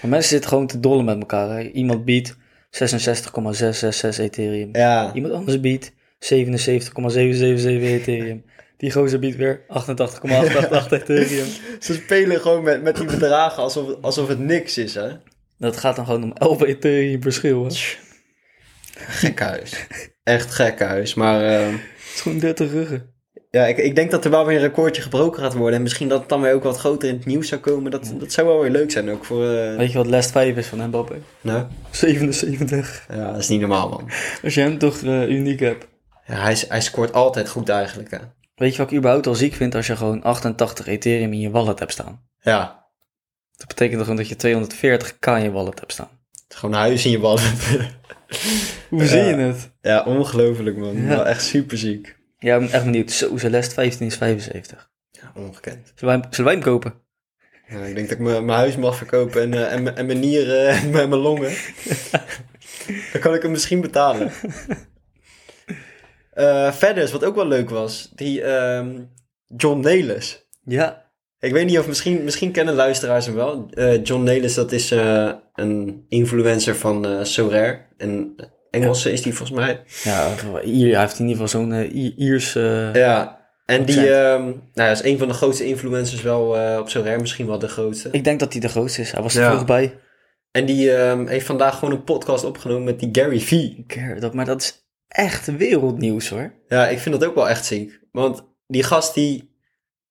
[SPEAKER 1] Maar mensen zitten gewoon te dollen met elkaar. Hè. Iemand biedt 66,666 Ethereum.
[SPEAKER 2] Ja.
[SPEAKER 1] Iemand anders biedt 77,777 Ethereum. Die gozer biedt weer 88,888 Ethereum.
[SPEAKER 2] Ze spelen gewoon met, met die bedragen alsof, alsof het niks is, hè?
[SPEAKER 1] Dat gaat dan gewoon om 11 Ethereum verschil. Hè. Het
[SPEAKER 2] Gekhuis. Echt gekhuis. Maar ehm,
[SPEAKER 1] is gewoon 30 ruggen.
[SPEAKER 2] ja, ik, ik denk dat er wel weer een recordje gebroken gaat worden. En misschien dat het dan weer ook wat groter in het nieuws zou komen. Dat, dat zou wel weer leuk zijn ook voor... eh,
[SPEAKER 1] Weet je wat last 5 is van Mbappé?
[SPEAKER 2] nou,
[SPEAKER 1] 77.
[SPEAKER 2] ja, dat is niet normaal, man.
[SPEAKER 1] Als je hem toch eh, uniek hebt.
[SPEAKER 2] Ja, hij, is- hij scoort altijd goed eigenlijk, hè.
[SPEAKER 1] Weet je wat ik überhaupt al ziek vind als je gewoon 88 Ethereum in je wallet hebt staan?
[SPEAKER 2] Ja,
[SPEAKER 1] Dat betekent gewoon dat je 240k in je wallet hebt staan.
[SPEAKER 2] het is gewoon een huis in je wallet.
[SPEAKER 1] Hoe
[SPEAKER 2] Ja.
[SPEAKER 1] zie je het?
[SPEAKER 2] ja, ongelooflijk, man.
[SPEAKER 1] Ja.
[SPEAKER 2] Wel echt superziek.
[SPEAKER 1] Ja, ik ben echt benieuwd. Zo, Celeste 15 is 75.
[SPEAKER 2] Ja, ongekend.
[SPEAKER 1] Zullen wij, hem- zullen wij hem kopen?
[SPEAKER 2] Ja, ik denk dat ik mijn mijn huis mag verkopen en, eh, en, mijn- en mijn nieren en mijn mijn longen. Dan kan ik hem misschien betalen. Eh, verder is wat ook wel leuk was, die ehm, John Nelis.
[SPEAKER 1] Ja.
[SPEAKER 2] Ik weet niet of misschien, misschien kennen luisteraars hem wel. Eh, John Nelis, dat is eh, een influencer van eh Sorare. Een Engelse is die volgens mij.
[SPEAKER 1] Ja, Ier, hij heeft in ieder geval zo'n eh, I- Iers... eh,
[SPEAKER 2] Ja, En die
[SPEAKER 1] Exact.
[SPEAKER 2] ehm, nou, ja, is een van de grootste influencers wel eh, op zo'n rare, misschien wel de grootste.
[SPEAKER 1] Ik denk dat hij de grootste is. Hij was er
[SPEAKER 2] Ja.
[SPEAKER 1] vroeg bij.
[SPEAKER 2] En die ehm, heeft vandaag gewoon een podcast opgenomen met die Gary Vee.
[SPEAKER 1] Keer dat, maar dat is echt wereldnieuws hoor.
[SPEAKER 2] Ja, ik vind dat ook wel echt ziek. Want die gast die,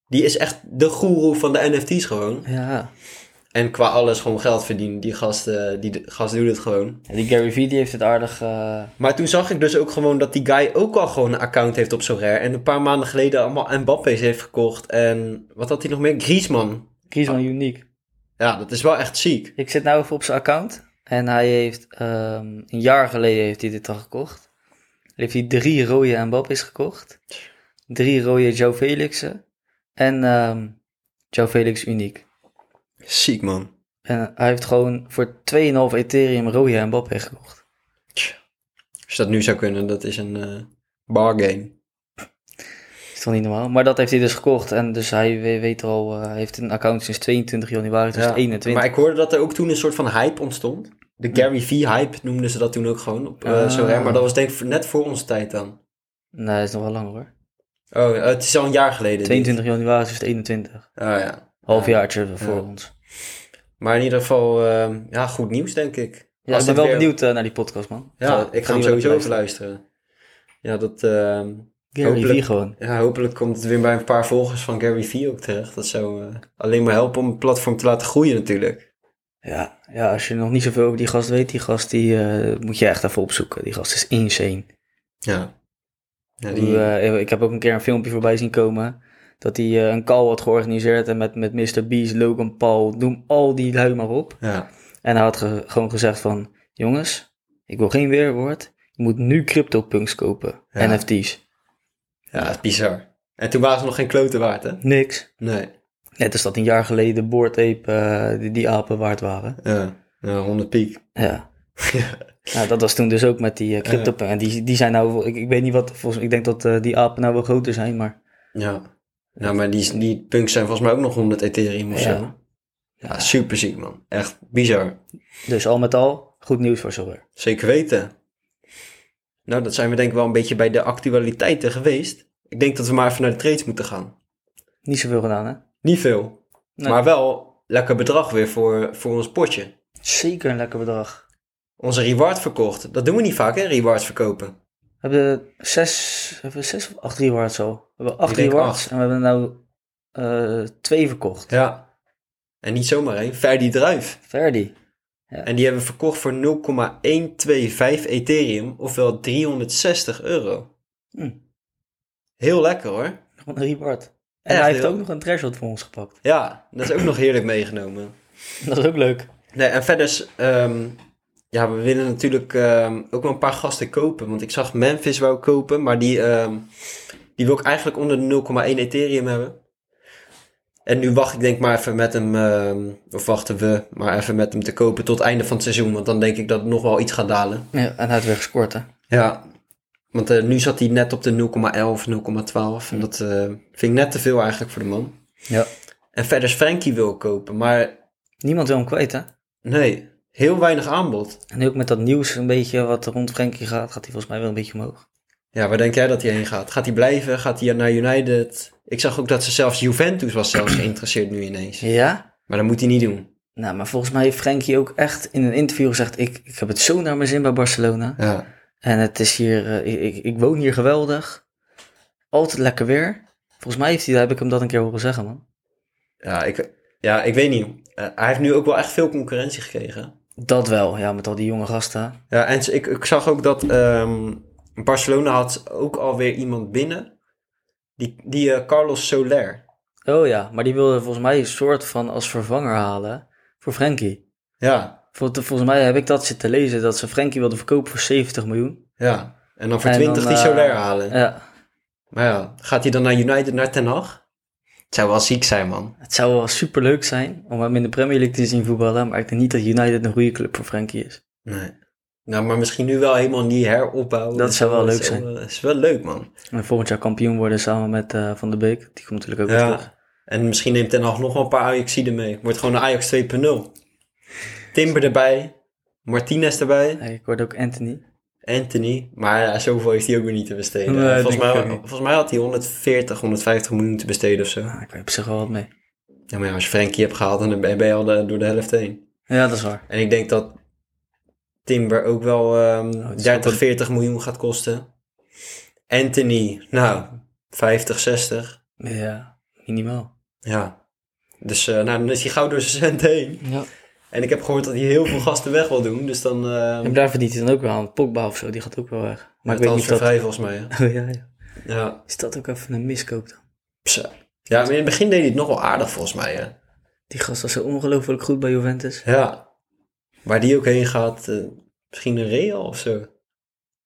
[SPEAKER 2] die is echt de goeroe van de NFT's gewoon.
[SPEAKER 1] Ja.
[SPEAKER 2] En qua alles gewoon geld verdienen. Die gast, eh, die de- gast doet het gewoon.
[SPEAKER 1] En die Gary Vee die heeft het aardig. eh,
[SPEAKER 2] Maar toen zag ik dus ook gewoon dat die guy ook al gewoon een account heeft op Sorare. En een paar maanden geleden allemaal Mbappe's heeft gekocht. En wat had hij nog meer? Griezmann.
[SPEAKER 1] Griezmann uniek.
[SPEAKER 2] Ja, dat is wel echt ziek.
[SPEAKER 1] Ik zit nou even op zijn account. En hij heeft ehm, een jaar geleden heeft hij dit al gekocht. Heeft hij drie rode Mbappé's gekocht. Drie rode Joe Felixen. En ehm Joe Felix uniek.
[SPEAKER 2] Ziek, man.
[SPEAKER 1] En hij heeft gewoon voor 2,5 Ethereum rode Mbappé gekocht.
[SPEAKER 2] Als dat nu zou kunnen, dat is een eh bargain.
[SPEAKER 1] Is toch niet normaal? Maar dat heeft hij dus gekocht. En dus hij we- weet al, eh, hij heeft een account sinds 22 januari dus
[SPEAKER 2] Ja.
[SPEAKER 1] 2021.
[SPEAKER 2] Maar ik hoorde dat er ook toen een soort van hype ontstond. De Gary Vee-hype noemden ze dat toen ook gewoon op eh
[SPEAKER 1] Hm. Ah.
[SPEAKER 2] Sorare. Maar dat was denk ik net voor onze tijd dan.
[SPEAKER 1] Nee, dat is nog wel lang hoor.
[SPEAKER 2] Oh, eh, het is al een jaar geleden. dit.
[SPEAKER 1] 22 januari dus 2021.
[SPEAKER 2] Oh ja.
[SPEAKER 1] Halfjaartje voor
[SPEAKER 2] Ja.
[SPEAKER 1] ons.
[SPEAKER 2] Maar in ieder geval, ehm, ja, goed nieuws denk ik.
[SPEAKER 1] Ja,
[SPEAKER 2] Als
[SPEAKER 1] ik ben
[SPEAKER 2] dit
[SPEAKER 1] wel
[SPEAKER 2] weer-
[SPEAKER 1] benieuwd eh, naar die podcast, man.
[SPEAKER 2] Ja,
[SPEAKER 1] Zal-
[SPEAKER 2] Nou, ik ga hem
[SPEAKER 1] die
[SPEAKER 2] sowieso
[SPEAKER 1] wel
[SPEAKER 2] even luisteren. Ja, dat, ehm,
[SPEAKER 1] Gary
[SPEAKER 2] Hopelijk.
[SPEAKER 1] Vee gewoon.
[SPEAKER 2] ja, hopelijk komt het weer bij een paar volgers van Gary Vee ook terecht. Dat zou eh, alleen maar helpen om het platform te laten groeien natuurlijk.
[SPEAKER 1] Ja, ja, als je nog niet zoveel over die gast weet, die gast die eh, moet je echt even opzoeken. Die gast is insane.
[SPEAKER 2] Ja. ja
[SPEAKER 1] Die,
[SPEAKER 2] die,
[SPEAKER 1] eh, ik heb ook een keer een filmpje voorbij zien komen. Dat hij eh, een call had georganiseerd en met, met Mr. Beast, Logan Paul, noem al die lui maar op.
[SPEAKER 2] ja.
[SPEAKER 1] En hij had ge- gewoon gezegd van, jongens, ik wil geen weerwoord. Je moet nu CryptoPunks kopen,
[SPEAKER 2] Ja.
[SPEAKER 1] NFT's.
[SPEAKER 2] ja, dat is bizar. En toen waren ze nog geen klote waard, hè?
[SPEAKER 1] Niks.
[SPEAKER 2] Nee.
[SPEAKER 1] Net als dat een jaar geleden Bored Ape, eh, die, die apen waard waren.
[SPEAKER 2] Ja, ja 100 piek.
[SPEAKER 1] Ja.
[SPEAKER 2] Ja.
[SPEAKER 1] Nou, dat was toen dus ook met die eh, CryptoPunks. En die, die zijn nou, ik, ik weet niet wat, volgens mij, ik denk dat eh, die apen nou wel groter zijn, maar...
[SPEAKER 2] Ja. Nou, maar die, die punks zijn volgens mij ook nog 100 Ethereum of
[SPEAKER 1] Ja.
[SPEAKER 2] zo. Ja, super ziek man. Echt bizar.
[SPEAKER 1] Dus al met al, goed nieuws voor zover.
[SPEAKER 2] Zeker weten. Nou, dat zijn we denk ik wel een beetje bij de actualiteiten geweest. Ik denk dat we maar even naar de trades moeten gaan.
[SPEAKER 1] Niet zoveel gedaan, hè?
[SPEAKER 2] Niet veel.
[SPEAKER 1] Nee.
[SPEAKER 2] Maar wel lekker bedrag weer voor, voor ons potje.
[SPEAKER 1] Zeker een lekker bedrag.
[SPEAKER 2] Onze reward verkocht. Dat doen we niet vaak hè, rewards verkopen.
[SPEAKER 1] We hebben zes, hebben we zes of acht rewards al? We hebben acht
[SPEAKER 2] Ik denk
[SPEAKER 1] rewards
[SPEAKER 2] acht.
[SPEAKER 1] en we hebben er nou eh, twee verkocht.
[SPEAKER 2] Ja. En niet zomaar één. Verdi Druif.
[SPEAKER 1] Verdi.
[SPEAKER 2] En die hebben we verkocht voor 0,125 Ethereum. Ofwel 360 euro.
[SPEAKER 1] Hm.
[SPEAKER 2] Heel lekker hoor.
[SPEAKER 1] Gewoon een reward. En
[SPEAKER 2] Echt,
[SPEAKER 1] hij heeft
[SPEAKER 2] joh.
[SPEAKER 1] ook nog een threshold voor ons gepakt.
[SPEAKER 2] Ja, dat is ook nog heerlijk meegenomen.
[SPEAKER 1] Dat is ook leuk.
[SPEAKER 2] Nee, en verder, is, ehm, ja, we willen natuurlijk ehm, ook wel een paar gasten kopen. Want ik zag Memphis wou ik kopen, maar die, ehm, die wil ik eigenlijk onder de 0,1 Ethereum hebben. En nu wacht ik denk maar even met hem, ehm, of wachten we maar even met hem te kopen tot het einde van het seizoen. Want dan denk ik dat het nog wel iets gaat dalen.
[SPEAKER 1] Ja, en hij heeft weer gescoord, hè?
[SPEAKER 2] Ja, want eh, nu zat hij net op de 0,11, 0,12. En dat eh, vind ik net te veel eigenlijk voor de man.
[SPEAKER 1] Ja.
[SPEAKER 2] En verder is Frankie wil ik kopen, maar
[SPEAKER 1] Niemand wil hem kwijt, hè?
[SPEAKER 2] nee, heel weinig aanbod.
[SPEAKER 1] En nu ook met dat nieuws een beetje wat er rond Frenkie gaat, gaat hij volgens mij wel een beetje omhoog.
[SPEAKER 2] Ja, waar denk jij dat hij heen gaat? Gaat hij blijven? Gaat hij naar United? Ik zag ook dat ze zelfs Juventus was zelfs geïnteresseerd nu ineens.
[SPEAKER 1] Ja?
[SPEAKER 2] Maar dat moet hij niet doen.
[SPEAKER 1] Nou, maar volgens mij heeft Frenkie ook echt in een interview gezegd, ik, ik heb het zo naar mijn zin bij Barcelona.
[SPEAKER 2] Ja.
[SPEAKER 1] En het is hier, eh, ik, ik, ik woon hier geweldig. Altijd lekker weer. Volgens mij heeft hij, heb ik hem dat een keer horen zeggen, man.
[SPEAKER 2] Ja, ik, ja, ik weet niet. Eh, hij heeft nu ook wel echt veel concurrentie gekregen.
[SPEAKER 1] Dat wel, ja, met al die jonge gasten.
[SPEAKER 2] Ja, en ze- ik, ik zag ook dat ehm, Barcelona had ook alweer iemand binnen. Die, die eh, Carlos Soler.
[SPEAKER 1] Oh ja, maar die wilde volgens mij een soort van als vervanger halen voor Frenkie.
[SPEAKER 2] Ja,
[SPEAKER 1] Vol- Volgens mij heb ik dat zitten lezen, dat ze Frenkie wilden verkopen voor 70 miljoen.
[SPEAKER 2] ja. En dan voor
[SPEAKER 1] En dan,
[SPEAKER 2] 20 die
[SPEAKER 1] eh,
[SPEAKER 2] Soler halen.
[SPEAKER 1] Ja,
[SPEAKER 2] Maar ja, gaat hij dan naar United, naar Ten Hag? Het zou wel ziek zijn, man.
[SPEAKER 1] het zou wel superleuk zijn om hem in de Premier League te zien voetballen, maar ik denk niet dat United een goede club voor Frenkie is.
[SPEAKER 2] Nee. Nou, maar misschien nu wel helemaal niet heropbouwen.
[SPEAKER 1] Dat
[SPEAKER 2] en
[SPEAKER 1] zou
[SPEAKER 2] zo.
[SPEAKER 1] wel leuk
[SPEAKER 2] is
[SPEAKER 1] zijn.
[SPEAKER 2] wel- eh, is wel leuk, man.
[SPEAKER 1] En volgend jaar kampioen worden samen met eh, Van der Beek, die komt natuurlijk ook weer terug.
[SPEAKER 2] Ja. En misschien neemt Ten Hag nog wel een paar Ajaxiden mee. Wordt gewoon een Ajax 2.0. Timber erbij. Martinez erbij.
[SPEAKER 1] Hey, ik hoorde ook Anthony.
[SPEAKER 2] Anthony. Maar ja, zoveel heeft hij ook weer niet te besteden.
[SPEAKER 1] Nee,
[SPEAKER 2] volgens,
[SPEAKER 1] denk ik
[SPEAKER 2] mij,
[SPEAKER 1] ook niet.
[SPEAKER 2] volgens mij had hij 140, 150 miljoen te besteden of zo.
[SPEAKER 1] Nou, ik weet op zich wel wat mee.
[SPEAKER 2] Ja, maar ja, als je Frenkie hebt gehaald, dan ben je al de- door de helft heen.
[SPEAKER 1] Ja, dat is waar.
[SPEAKER 2] En ik denk dat Timber ook wel ehm,
[SPEAKER 1] Oh, het is
[SPEAKER 2] 30,
[SPEAKER 1] wel-
[SPEAKER 2] 40 miljoen gaat kosten. Anthony, nou, 50, 60.
[SPEAKER 1] Ja, minimaal.
[SPEAKER 2] Ja. Dus eh, nou, dan is hij gauw door zijn cent heen.
[SPEAKER 1] Ja.
[SPEAKER 2] En ik heb gehoord dat hij heel veel gasten weg wil doen. Dus dan... ehm
[SPEAKER 1] En daar verdient hij dan ook wel aan. Pogba of zo, die gaat ook wel weg. Maar ik weet niet of dat...
[SPEAKER 2] vrij volgens mij. hè.
[SPEAKER 1] Oh, ja, ja.
[SPEAKER 2] Ja.
[SPEAKER 1] Is dat ook even een miskoop dan?
[SPEAKER 2] Zo. Ja, maar in het begin deed hij het nog wel aardig volgens mij. Hè?
[SPEAKER 1] Die gast was zo ongelooflijk goed bij Juventus.
[SPEAKER 2] Ja. Waar die ook heen gaat, eh, misschien een Real of zo.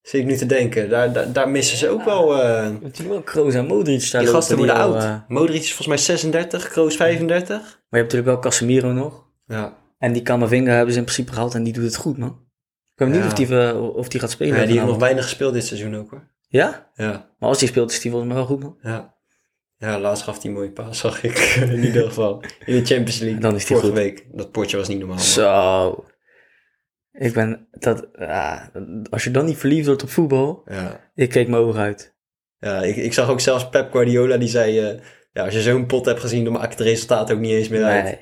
[SPEAKER 2] Zit ik nu te denken. Daar, daar, daar missen ze ook wel. eh,
[SPEAKER 1] Want die wel Kroos en Modric daar
[SPEAKER 2] die
[SPEAKER 1] lopen
[SPEAKER 2] gasten worden
[SPEAKER 1] al,
[SPEAKER 2] oud.
[SPEAKER 1] eh,
[SPEAKER 2] Modric is volgens mij 36, Kroos 35.
[SPEAKER 1] Maar je hebt natuurlijk wel Casemiro nog.
[SPEAKER 2] Ja.
[SPEAKER 1] En die Camavinga hebben ze in principe gehaald en die doet het goed, man. Ik ben benieuwd
[SPEAKER 2] Ja.
[SPEAKER 1] of, die, eh, of die gaat spelen.
[SPEAKER 2] ja die heeft nog
[SPEAKER 1] vanavond.
[SPEAKER 2] weinig gespeeld dit seizoen ook hoor.
[SPEAKER 1] Ja?
[SPEAKER 2] Ja,
[SPEAKER 1] Maar als die speelt is die volgens mij wel goed, man.
[SPEAKER 2] ja. Ja, laatst gaf hij een mooie paas, zag ik. in ieder geval. In de Champions League.
[SPEAKER 1] Dan is die
[SPEAKER 2] Vorige
[SPEAKER 1] goed.
[SPEAKER 2] week. Dat potje was niet normaal. man.
[SPEAKER 1] Zo. Ik ben... Dat, ah, als je dan niet verliefd wordt op voetbal...
[SPEAKER 2] Ja.
[SPEAKER 1] Ik keek mijn ogen uit.
[SPEAKER 2] Ja, ik, ik zag ook zelfs Pep Guardiola die zei... eh, ja, als je zo'n pot hebt gezien, dan maakt het resultaat ook niet eens meer uit.
[SPEAKER 1] Nee,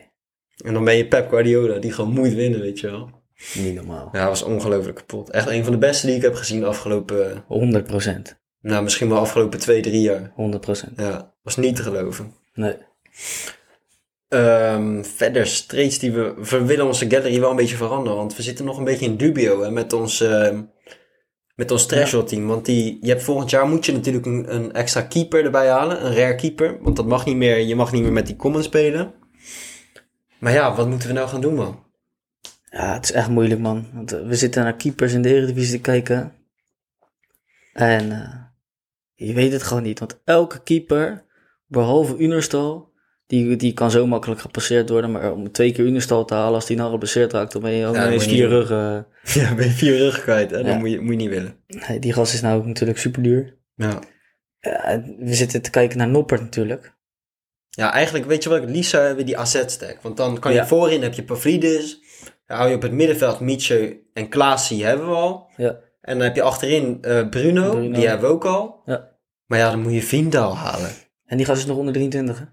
[SPEAKER 2] En dan ben je Pep Guardiola, die gewoon moet winnen, weet je wel.
[SPEAKER 1] niet normaal.
[SPEAKER 2] Ja, hij was ongelooflijk kapot. Echt een van de beste die ik heb gezien de afgelopen...
[SPEAKER 1] 100 procent.
[SPEAKER 2] Nou, misschien wel afgelopen twee, drie jaar.
[SPEAKER 1] 100 procent.
[SPEAKER 2] Ja, was niet te geloven.
[SPEAKER 1] Nee.
[SPEAKER 2] Ehm, verder, streets die we... We willen onze gallery wel een beetje veranderen. Want we zitten nog een beetje in dubio hè, met ons... ehm, met ons threshold team. Want die, je hebt volgend jaar moet je natuurlijk een, een extra keeper erbij halen. Een rare keeper. Want dat mag niet meer. Je mag niet meer met die common spelen. Maar ja, wat moeten we nou gaan doen, man?
[SPEAKER 1] Ja, het is echt moeilijk, man. Want eh, we zitten naar keepers in de Eredivisie te kijken. En eh, je weet het gewoon niet. Want elke keeper, behalve Unerstal, die, die kan zo makkelijk gepasseerd worden. Maar om twee keer Unerstal te halen, als die nou geblesseerd raakt, dan ben je
[SPEAKER 2] dat
[SPEAKER 1] ja,
[SPEAKER 2] moet je
[SPEAKER 1] vier
[SPEAKER 2] niet
[SPEAKER 1] rug. eh.
[SPEAKER 2] Ja, ben je vier rug kwijt. Hè?
[SPEAKER 1] Ja.
[SPEAKER 2] Dat moet je, moet je niet willen.
[SPEAKER 1] Nee, die gast is nou ook natuurlijk super duur.
[SPEAKER 2] Ja.
[SPEAKER 1] Eh, we zitten te kijken naar Noppert natuurlijk.
[SPEAKER 2] ja, eigenlijk weet je wat ik het liefst zou hebben, die AZ-stack. Want dan kan je
[SPEAKER 1] Ja.
[SPEAKER 2] voorin, heb je Pavlidis. Dan hou je op het middenveld Mietje en Klaasie hebben we al.
[SPEAKER 1] Ja.
[SPEAKER 2] En dan heb je achterin eh, Bruno,
[SPEAKER 1] Bruno.
[SPEAKER 2] die hebben we ook al.
[SPEAKER 1] Ja.
[SPEAKER 2] Maar ja, dan moet je Vindal halen.
[SPEAKER 1] En die gast is nog onder 23, hè?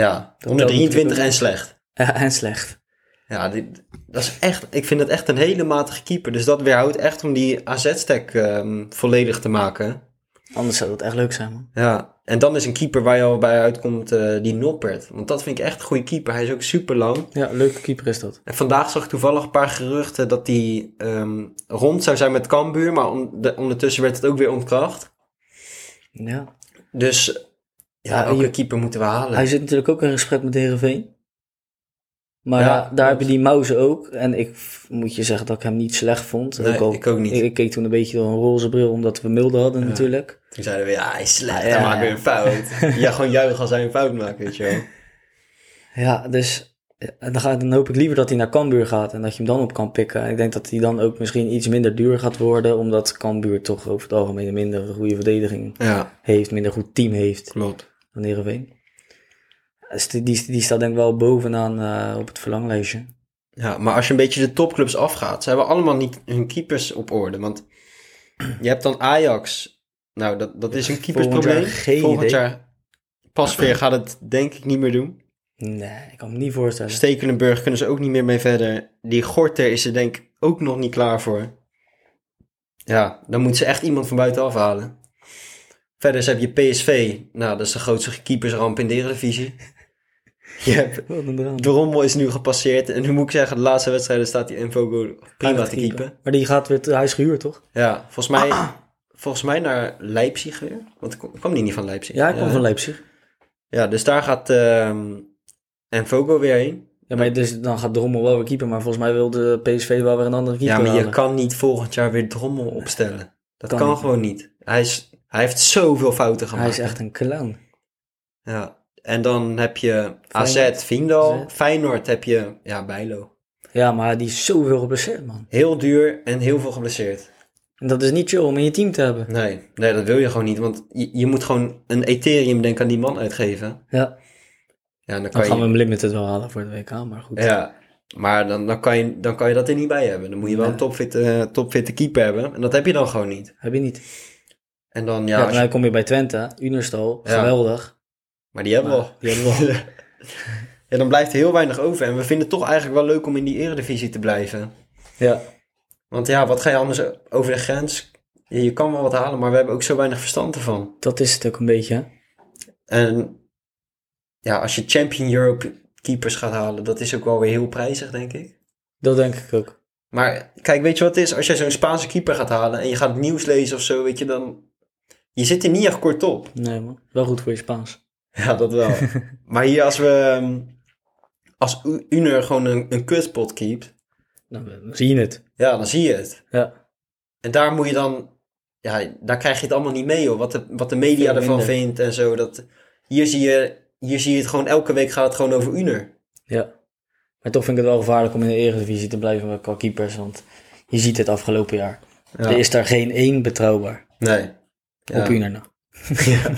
[SPEAKER 2] Ja,
[SPEAKER 1] telt
[SPEAKER 2] 123
[SPEAKER 1] natuurlijk
[SPEAKER 2] en slecht.
[SPEAKER 1] Ja, en slecht.
[SPEAKER 2] Ja, die- dat is echt, ik vind het echt een hele matige keeper. Dus dat weerhoudt echt om die AZ-stack ehm, volledig te maken.
[SPEAKER 1] Anders zou dat echt leuk zijn, man.
[SPEAKER 2] Ja, en dan is een keeper waar je al bij uitkomt, eh, die Noppert. Want dat vind ik echt een goede keeper. Hij is ook super lang.
[SPEAKER 1] Ja, leuke keeper is dat.
[SPEAKER 2] En vandaag zag ik toevallig een paar geruchten dat hij ehm, rond zou zijn met Cambuur. Maar on- de- ondertussen werd het ook weer ontkracht.
[SPEAKER 1] Ja.
[SPEAKER 2] Dus ja,
[SPEAKER 1] Ja,
[SPEAKER 2] ook
[SPEAKER 1] je-
[SPEAKER 2] een keeper moeten we halen.
[SPEAKER 1] Hij zit natuurlijk ook in gesprek met Heerenveen. Maar
[SPEAKER 2] Ja,
[SPEAKER 1] ja,
[SPEAKER 2] klopt.
[SPEAKER 1] daar hebben die Mauze ook. En ik f- moet je zeggen dat ik hem niet slecht vond.
[SPEAKER 2] Nee,
[SPEAKER 1] ook al,
[SPEAKER 2] ik ook niet.
[SPEAKER 1] Ik, ik keek toen een beetje door een roze bril, omdat we milde hadden
[SPEAKER 2] Ja.
[SPEAKER 1] natuurlijk.
[SPEAKER 2] Toen zeiden we, ja, hij is slecht,
[SPEAKER 1] Ja,
[SPEAKER 2] hij
[SPEAKER 1] ja,
[SPEAKER 2] maakt
[SPEAKER 1] ja.
[SPEAKER 2] weer een fout. ja, gewoon juichen als hij een fout maakt, weet je wel.
[SPEAKER 1] Ja, dus eh, dan, ga, dan hoop ik liever dat hij naar Cambuur gaat en dat je hem dan op kan pikken. En ik denk dat hij dan ook misschien iets minder duur gaat worden, omdat Cambuur toch over het algemeen een minder goede verdediging
[SPEAKER 2] Ja,
[SPEAKER 1] heeft, minder goed team heeft
[SPEAKER 2] klopt.
[SPEAKER 1] dan Heerenveen. Dus die, die, die staat denk ik wel bovenaan eh, op het verlanglijstje.
[SPEAKER 2] Ja, maar als je een beetje de topclubs afgaat, ze hebben allemaal niet hun keepers op orde. Want je hebt dan Ajax. Nou, dat, dat is een keepersprobleem.
[SPEAKER 1] Volgend jaar geen
[SPEAKER 2] Volgend
[SPEAKER 1] idee.
[SPEAKER 2] jaar Pasveer gaat het denk ik niet meer doen.
[SPEAKER 1] Nee, ik kan me niet voorstellen.
[SPEAKER 2] Stekelenburg kunnen ze ook niet meer mee verder. Die Gorter is er denk ik ook nog niet klaar voor. Ja, dan moeten ze echt iemand van buitenaf halen. Verder heb je PSV. Nou, dat is de grootste keepersramp in de Eredivisie. Je hebt
[SPEAKER 1] Wat een drama.
[SPEAKER 2] de rommel is nu gepasseerd. En nu moet ik zeggen, de laatste wedstrijden staat die Envogo prima te keepen.
[SPEAKER 1] Maar die gaat weer, te- hij is gehuurd toch?
[SPEAKER 2] Ja, volgens mij, volgens mij naar Leipzig weer. Want kwam- kwam die niet van Leipzig?
[SPEAKER 1] Ja, hij komt van Leipzig.
[SPEAKER 2] Ja, dus daar gaat ehm Envogo weer heen.
[SPEAKER 1] Ja, maar dus, dan gaat Drommel wel weer keeper, maar volgens mij wil de PSV wel weer een andere keeper
[SPEAKER 2] ja, maar je
[SPEAKER 1] halen.
[SPEAKER 2] kan niet volgend jaar weer Drommel opstellen. Dat kan,
[SPEAKER 1] Kan niet.
[SPEAKER 2] gewoon niet. Hij, is, hij heeft zoveel fouten
[SPEAKER 1] Hij
[SPEAKER 2] gemaakt.
[SPEAKER 1] is echt een clown.
[SPEAKER 2] ja. En dan heb je AZ, Vindal.
[SPEAKER 1] AZ.
[SPEAKER 2] Feyenoord heb je ja, Bijlo.
[SPEAKER 1] Ja, maar die is zoveel geblesseerd, man.
[SPEAKER 2] Heel duur en heel veel geblesseerd.
[SPEAKER 1] En dat is niet chill om in je team te hebben.
[SPEAKER 2] Nee, nee, dat wil je gewoon niet. Want je, je moet gewoon een Ethereum denk ik aan die man uitgeven.
[SPEAKER 1] Ja,
[SPEAKER 2] Ja, en dan kan
[SPEAKER 1] dan gaan we
[SPEAKER 2] je...
[SPEAKER 1] hem limited wel halen voor het WK, maar goed.
[SPEAKER 2] Ja, Maar dan, dan, kan je, dan kan je dat er niet bij hebben. Dan moet je wel een
[SPEAKER 1] Nee.
[SPEAKER 2] topfit, eh, topfitte keeper hebben. En dat heb je dan gewoon niet.
[SPEAKER 1] Heb je niet.
[SPEAKER 2] En dan, ja,
[SPEAKER 1] Ja,
[SPEAKER 2] als
[SPEAKER 1] dan
[SPEAKER 2] je-
[SPEAKER 1] kom je bij Twente, Unerstal,
[SPEAKER 2] Ja.
[SPEAKER 1] geweldig.
[SPEAKER 2] maar die hebben we al.
[SPEAKER 1] Maar die hebben we al.
[SPEAKER 2] ja, dan blijft er heel weinig over. En we vinden het toch eigenlijk wel leuk om in die eredivisie te blijven.
[SPEAKER 1] Ja.
[SPEAKER 2] Want ja, wat ga je anders over de grens? Je, je kan wel wat halen, maar we hebben ook zo weinig verstand ervan.
[SPEAKER 1] Dat is het ook een beetje. hè?
[SPEAKER 2] En ja, als je Champion Europe keepers gaat halen, dat is ook wel weer heel prijzig, denk ik.
[SPEAKER 1] Dat denk ik ook.
[SPEAKER 2] Maar kijk, weet je wat het is? Als jij zo'n Spaanse keeper gaat halen en je gaat het nieuws lezen of zo, weet je, dan... Je zit er niet echt kort op.
[SPEAKER 1] Nee man, wel goed voor je Spaans.
[SPEAKER 2] Ja, dat wel. maar hier als we... ehm, Als U- Uner gewoon een, een kutpot keept,
[SPEAKER 1] Nou, Dan zie je het.
[SPEAKER 2] ja, dan zie je het.
[SPEAKER 1] Ja.
[SPEAKER 2] En daar moet je dan... Ja, daar krijg je het allemaal niet mee, hoor. Wat de, wat de media
[SPEAKER 1] Veel
[SPEAKER 2] ervan
[SPEAKER 1] minder.
[SPEAKER 2] vindt en zo. Dat, hier, zie je, hier zie je het gewoon... Elke week gaat het gewoon over Uner.
[SPEAKER 1] ja. Maar toch vind ik het wel gevaarlijk om in de Eredivisie te blijven qua keepers. Want je ziet het afgelopen jaar.
[SPEAKER 2] Ja.
[SPEAKER 1] Er is daar geen één betrouwbaar.
[SPEAKER 2] Nee. Ja.
[SPEAKER 1] Op Uner nou.
[SPEAKER 2] Ja,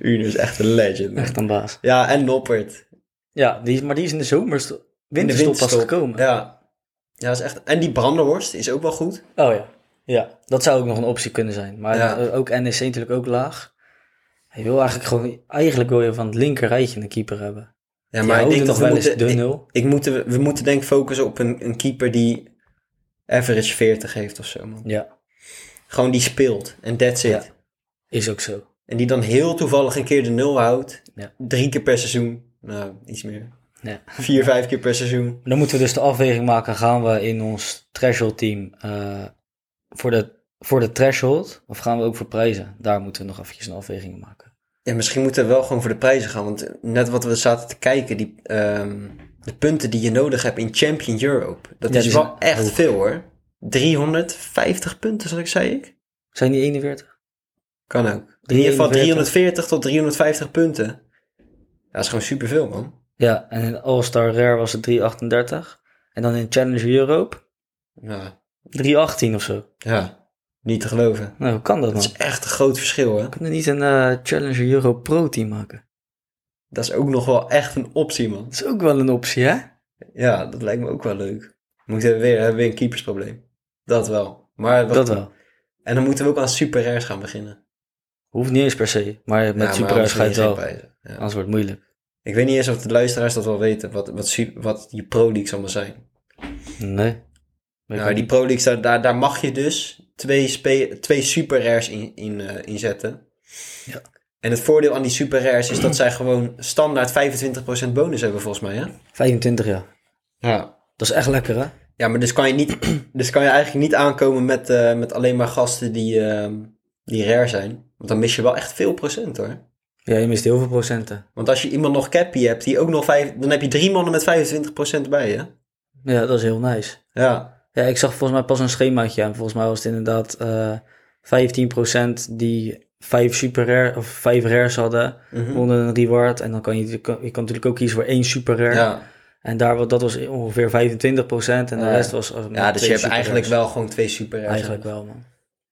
[SPEAKER 2] Uno is echt een legend.
[SPEAKER 1] Echt een baas.
[SPEAKER 2] Ja, en Noppert.
[SPEAKER 1] Ja, die is, maar die is in de zomer winterstop pas
[SPEAKER 2] winterstop.
[SPEAKER 1] gekomen.
[SPEAKER 2] Ja. Ja, is echt... En die Brandenhorst is ook wel goed.
[SPEAKER 1] Oh ja. Ja, dat zou ook nog een optie kunnen zijn. Maar
[SPEAKER 2] Ja.
[SPEAKER 1] eh, ook NEC natuurlijk ook laag. Je wil eigenlijk gewoon, eigenlijk wil je van het linker rijtje een keeper hebben.
[SPEAKER 2] Ja,
[SPEAKER 1] maar
[SPEAKER 2] ik denk dat
[SPEAKER 1] nog
[SPEAKER 2] we
[SPEAKER 1] wel eens de
[SPEAKER 2] moeten... Ik,
[SPEAKER 1] nul.
[SPEAKER 2] ik moet, we moeten denk ik focussen op een, een keeper die average 40 heeft of zo, man.
[SPEAKER 1] Ja,
[SPEAKER 2] Gewoon die speelt. En that's it.
[SPEAKER 1] Ja. is ook zo.
[SPEAKER 2] En die dan heel toevallig een keer de nul houdt.
[SPEAKER 1] Ja.
[SPEAKER 2] Drie keer per seizoen. Nou, iets meer.
[SPEAKER 1] Ja.
[SPEAKER 2] Vier, vijf keer per seizoen.
[SPEAKER 1] Dan moeten we dus de afweging maken. Gaan we in ons threshold team eh, voor, de, voor de threshold? Of gaan we ook voor prijzen? Daar moeten we nog eventjes een afweging maken.
[SPEAKER 2] Ja, misschien moeten we wel gewoon voor de prijzen gaan. Want net wat we zaten te kijken, die, ehm, de punten die je nodig hebt in Champion Europe. Dat
[SPEAKER 1] Ja,
[SPEAKER 2] is
[SPEAKER 1] die
[SPEAKER 2] wel
[SPEAKER 1] zijn
[SPEAKER 2] echt
[SPEAKER 1] hoog.
[SPEAKER 2] veel hoor. 350 punten, zoals ik zei ik.
[SPEAKER 1] Zijn die 41?
[SPEAKER 2] Kan ook. In ieder geval
[SPEAKER 1] 341.
[SPEAKER 2] 340 tot 350 punten. Ja, dat is gewoon superveel man.
[SPEAKER 1] Ja, en in All-Star Rare was het 338. En dan in Challenger Europe
[SPEAKER 2] Ja,
[SPEAKER 1] 318 of zo.
[SPEAKER 2] ja. niet te geloven.
[SPEAKER 1] Nou, hoe kan dat
[SPEAKER 2] Dat
[SPEAKER 1] man?
[SPEAKER 2] is echt een groot verschil hè.
[SPEAKER 1] Kunnen we niet een eh, Challenger Euro Pro team maken?
[SPEAKER 2] Dat is ook nog wel echt een optie man.
[SPEAKER 1] Dat is ook wel een optie, hè?
[SPEAKER 2] Ja, dat lijkt me ook wel leuk. Moeten we weer, hebben we weer een keepersprobleem. Dat wel. Maar wat-
[SPEAKER 1] Dat wel.
[SPEAKER 2] En dan moeten we ook aan super rares gaan beginnen.
[SPEAKER 1] Hoeft niet eens per se, maar met
[SPEAKER 2] maar
[SPEAKER 1] Super
[SPEAKER 2] anders
[SPEAKER 1] ga je het
[SPEAKER 2] win je
[SPEAKER 1] wel.
[SPEAKER 2] geen prijzen. Ja.
[SPEAKER 1] Anders wordt het moeilijk.
[SPEAKER 2] Ik weet niet eens of de luisteraars dat wel weten, wat, wat, su- wat die Pro Leagues allemaal zijn.
[SPEAKER 1] Nee. Weet ik
[SPEAKER 2] Nou, die
[SPEAKER 1] niet.
[SPEAKER 2] Pro Leagues, daar, daar, daar mag je dus twee, spe- twee super rares in, in, eh, in zetten.
[SPEAKER 1] Ja.
[SPEAKER 2] En het voordeel aan die super rares is dat zij gewoon standaard 25% bonus hebben, volgens mij. Hè?
[SPEAKER 1] 25 jaar.
[SPEAKER 2] Ja.
[SPEAKER 1] Dat is echt lekker, hè?
[SPEAKER 2] Ja, maar dus kan je, niet, dus kan je eigenlijk niet aankomen met, eh, met alleen maar gasten die, ehm, die rare zijn. Want dan mis je wel echt veel procent hoor.
[SPEAKER 1] Ja, je mist heel veel procenten.
[SPEAKER 2] Want als je iemand nog cappy hebt, die ook nog vijf, dan heb je drie mannen met 25% bij hè?
[SPEAKER 1] Ja, dat is heel nice.
[SPEAKER 2] Ja.
[SPEAKER 1] Ja, ik zag volgens mij pas een schemaatje en volgens mij was het inderdaad eh 15% die 5 super rare of 5 rares hadden
[SPEAKER 2] Mhm.
[SPEAKER 1] onder een reward. En dan kan je, je kan natuurlijk ook kiezen voor één super rare.
[SPEAKER 2] Ja,
[SPEAKER 1] En daar, wa- dat was ongeveer 25% en de
[SPEAKER 2] Ja.
[SPEAKER 1] rest was... als-
[SPEAKER 2] ja dus je hebt
[SPEAKER 1] twee
[SPEAKER 2] eigenlijk
[SPEAKER 1] superrares.
[SPEAKER 2] wel gewoon twee super rares.
[SPEAKER 1] Eigenlijk wel, man. Maar dan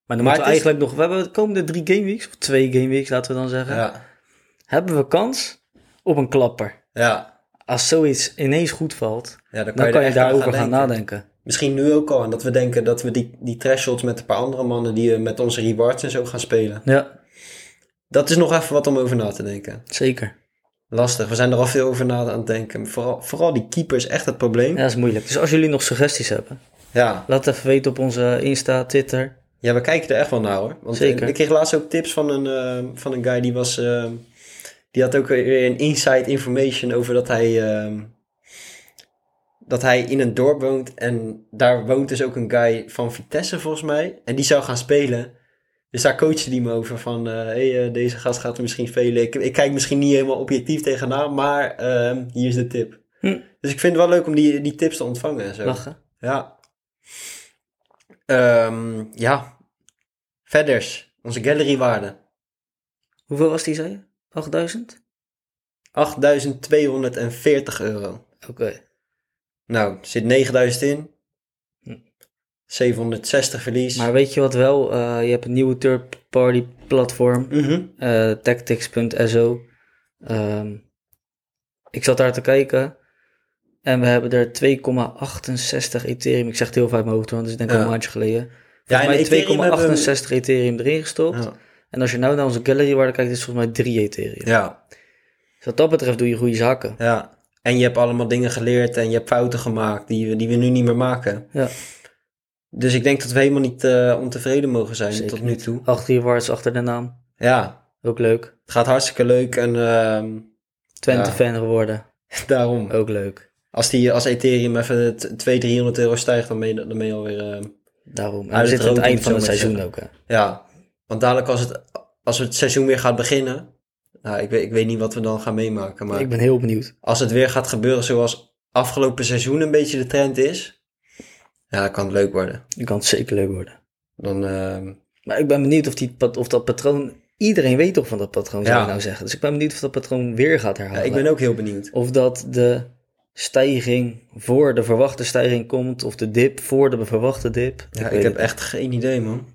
[SPEAKER 2] Maar
[SPEAKER 1] moeten we
[SPEAKER 2] het is-
[SPEAKER 1] eigenlijk nog... We hebben de komende drie gameweeks, of twee gameweeks laten we dan zeggen...
[SPEAKER 2] Ja.
[SPEAKER 1] hebben we kans op een klapper.
[SPEAKER 2] Ja.
[SPEAKER 1] Als zoiets ineens goed valt,
[SPEAKER 2] ja, dan kan
[SPEAKER 1] dan
[SPEAKER 2] je,
[SPEAKER 1] kan
[SPEAKER 2] er
[SPEAKER 1] je,
[SPEAKER 2] echt
[SPEAKER 1] daarover
[SPEAKER 2] aan
[SPEAKER 1] gaan,
[SPEAKER 2] denken.
[SPEAKER 1] nadenken.
[SPEAKER 2] Misschien nu ook al. En dat we denken dat we die, die thresholds met een paar andere mannen die eh, met onze rewards en zo gaan spelen.
[SPEAKER 1] Ja,
[SPEAKER 2] Dat is nog even wat om over na te denken.
[SPEAKER 1] zeker.
[SPEAKER 2] Lastig. We zijn er al veel over na aan het denken. Vooral, vooral die keeper is echt het probleem.
[SPEAKER 1] Ja,
[SPEAKER 2] Ja.
[SPEAKER 1] dat is moeilijk. Dus als jullie nog suggesties hebben,
[SPEAKER 2] ja.
[SPEAKER 1] laat het even weten op onze Insta, Twitter.
[SPEAKER 2] we kijken er echt wel naar hoor. Want
[SPEAKER 1] Zeker.
[SPEAKER 2] eh, ik kreeg laatst ook tips van een, eh, van een guy die was... eh, die had ook weer een inside information over dat hij... eh, dat hij in een dorp woont. En daar woont dus ook een guy van Vitesse volgens mij. En die zou gaan spelen. Dus daar coachte die me over van... eh hey, eh, deze gast gaat er misschien spelen. Ik, ik kijk misschien niet helemaal objectief tegenaan. Maar ehm, hier is de tip.
[SPEAKER 1] Hm.
[SPEAKER 2] Dus ik vind het wel leuk om die, die tips te ontvangen en zo.
[SPEAKER 1] Lachen.
[SPEAKER 2] Ja. Ehm, ja. Verders. Onze gallerywaarde.
[SPEAKER 1] Hoeveel was die, zei je? 8000?
[SPEAKER 2] 8.240 euro.
[SPEAKER 1] Oké.
[SPEAKER 2] Nou, er zit 9.000 in.
[SPEAKER 1] Hm.
[SPEAKER 2] 760 verlies.
[SPEAKER 1] Maar weet je wat wel? Eh, je hebt een nieuwe third-party platform.
[SPEAKER 2] Mhm.
[SPEAKER 1] eh, tactics.so. Ehm, ik zat daar te kijken. En we hebben er 2,68 Ethereum. Ik zeg het heel vaak uit mijn hoofd, hoor, want het is denk ik
[SPEAKER 2] Ja.
[SPEAKER 1] al een maandje geleden.
[SPEAKER 2] Ja, en
[SPEAKER 1] Volgens
[SPEAKER 2] Ethereum
[SPEAKER 1] mij 2,68
[SPEAKER 2] hebben we-
[SPEAKER 1] Ethereum erin gestopt.
[SPEAKER 2] Ja.
[SPEAKER 1] En als je nou naar onze gallerywaarde kijkt, is het volgens mij 3 Ethereum.
[SPEAKER 2] ja,
[SPEAKER 1] Dus wat dat betreft doe je goede zaken.
[SPEAKER 2] ja. En je hebt allemaal dingen geleerd en je hebt fouten gemaakt die we, die we nu niet meer maken.
[SPEAKER 1] Ja.
[SPEAKER 2] Dus ik denk dat we helemaal niet eh, ontevreden mogen zijn
[SPEAKER 1] Zeker
[SPEAKER 2] tot nu toe.
[SPEAKER 1] Acht rewards achter de naam.
[SPEAKER 2] Ja,
[SPEAKER 1] Ook leuk.
[SPEAKER 2] het gaat hartstikke leuk en ehm,
[SPEAKER 1] Twente
[SPEAKER 2] Ja.
[SPEAKER 1] fan geworden.
[SPEAKER 2] daarom.
[SPEAKER 1] Ook leuk.
[SPEAKER 2] Als, die, als Ethereum even 200, 300 euro stijgt, dan ben je, dan ben je alweer... ehm,
[SPEAKER 1] Daarom. En
[SPEAKER 2] Uit
[SPEAKER 1] we
[SPEAKER 2] het
[SPEAKER 1] zitten aan het
[SPEAKER 2] rood, om
[SPEAKER 1] eind
[SPEAKER 2] het
[SPEAKER 1] van
[SPEAKER 2] zo
[SPEAKER 1] het
[SPEAKER 2] maar te
[SPEAKER 1] seizoen
[SPEAKER 2] zeggen.
[SPEAKER 1] ook. Hè.
[SPEAKER 2] Ja, want dadelijk als het, als het seizoen weer gaat beginnen. Nou, ik weet, ik weet niet wat we dan gaan meemaken. Maar
[SPEAKER 1] Ik ben heel benieuwd.
[SPEAKER 2] als het weer gaat gebeuren zoals afgelopen seizoen een beetje de trend is. Ja, dan kan het leuk worden.
[SPEAKER 1] Dan kan het zeker leuk worden.
[SPEAKER 2] Dan, ehm,
[SPEAKER 1] Maar ik ben benieuwd of, die, pat- of dat patroon... Iedereen weet toch van dat patroon, zou
[SPEAKER 2] Ja.
[SPEAKER 1] ik nou zeggen. Dus ik ben benieuwd of dat patroon weer gaat
[SPEAKER 2] ja,
[SPEAKER 1] herhalen.
[SPEAKER 2] ik ben ook heel benieuwd.
[SPEAKER 1] Of dat de stijging voor de verwachte stijging komt... of de dip voor de verwachte dip.
[SPEAKER 2] Ja, ik,
[SPEAKER 1] weet
[SPEAKER 2] heb
[SPEAKER 1] het
[SPEAKER 2] echt geen idee, man.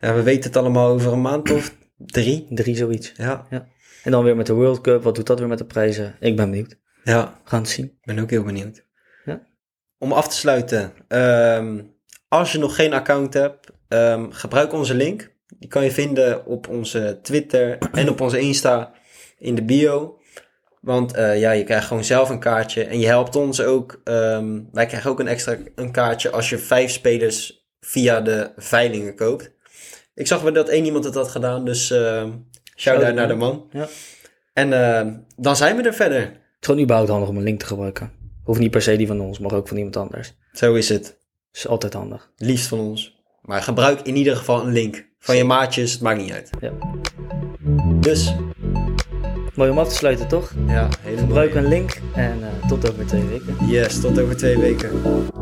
[SPEAKER 2] Ja, we weten het allemaal over een maand of drie.
[SPEAKER 1] niet. Drie zoiets.
[SPEAKER 2] Ja,
[SPEAKER 1] En dan weer met de World Cup. Wat doet dat weer met de prijzen? Ik ben benieuwd.
[SPEAKER 2] ja.
[SPEAKER 1] We gaan het zien.
[SPEAKER 2] Ik ben ook heel benieuwd.
[SPEAKER 1] Ja.
[SPEAKER 2] Om af te sluiten. ehm, als je nog geen account hebt, ehm, gebruik onze link. Die kan je vinden op onze Twitter en op onze Insta in de bio. Want eh, ja, je krijgt gewoon zelf een kaartje. En je helpt ons ook. ehm, wij krijgen ook een extra een kaartje als je vijf spelers via de veilingen koopt. Ik zag wel dat één iemand het had gedaan. Dus ehm shout-out
[SPEAKER 1] Shout-out,
[SPEAKER 2] naar de
[SPEAKER 1] man.
[SPEAKER 2] man.
[SPEAKER 1] Ja.
[SPEAKER 2] En ehm, dan zijn we er verder.
[SPEAKER 1] Het is gewoon überhaupt handig om een link te gebruiken. Hoeft niet per se die van ons, maar ook van iemand anders.
[SPEAKER 2] Zo is het.
[SPEAKER 1] is altijd handig.
[SPEAKER 2] Liefst van ons. Maar gebruik in ieder geval een link. Van je maatjes, het maakt niet uit.
[SPEAKER 1] Ja.
[SPEAKER 2] Dus,
[SPEAKER 1] Mooi om af te sluiten, toch?
[SPEAKER 2] ja, helemaal.
[SPEAKER 1] Gebruik een link en eh, tot over twee weken.
[SPEAKER 2] Yes, tot over twee weken.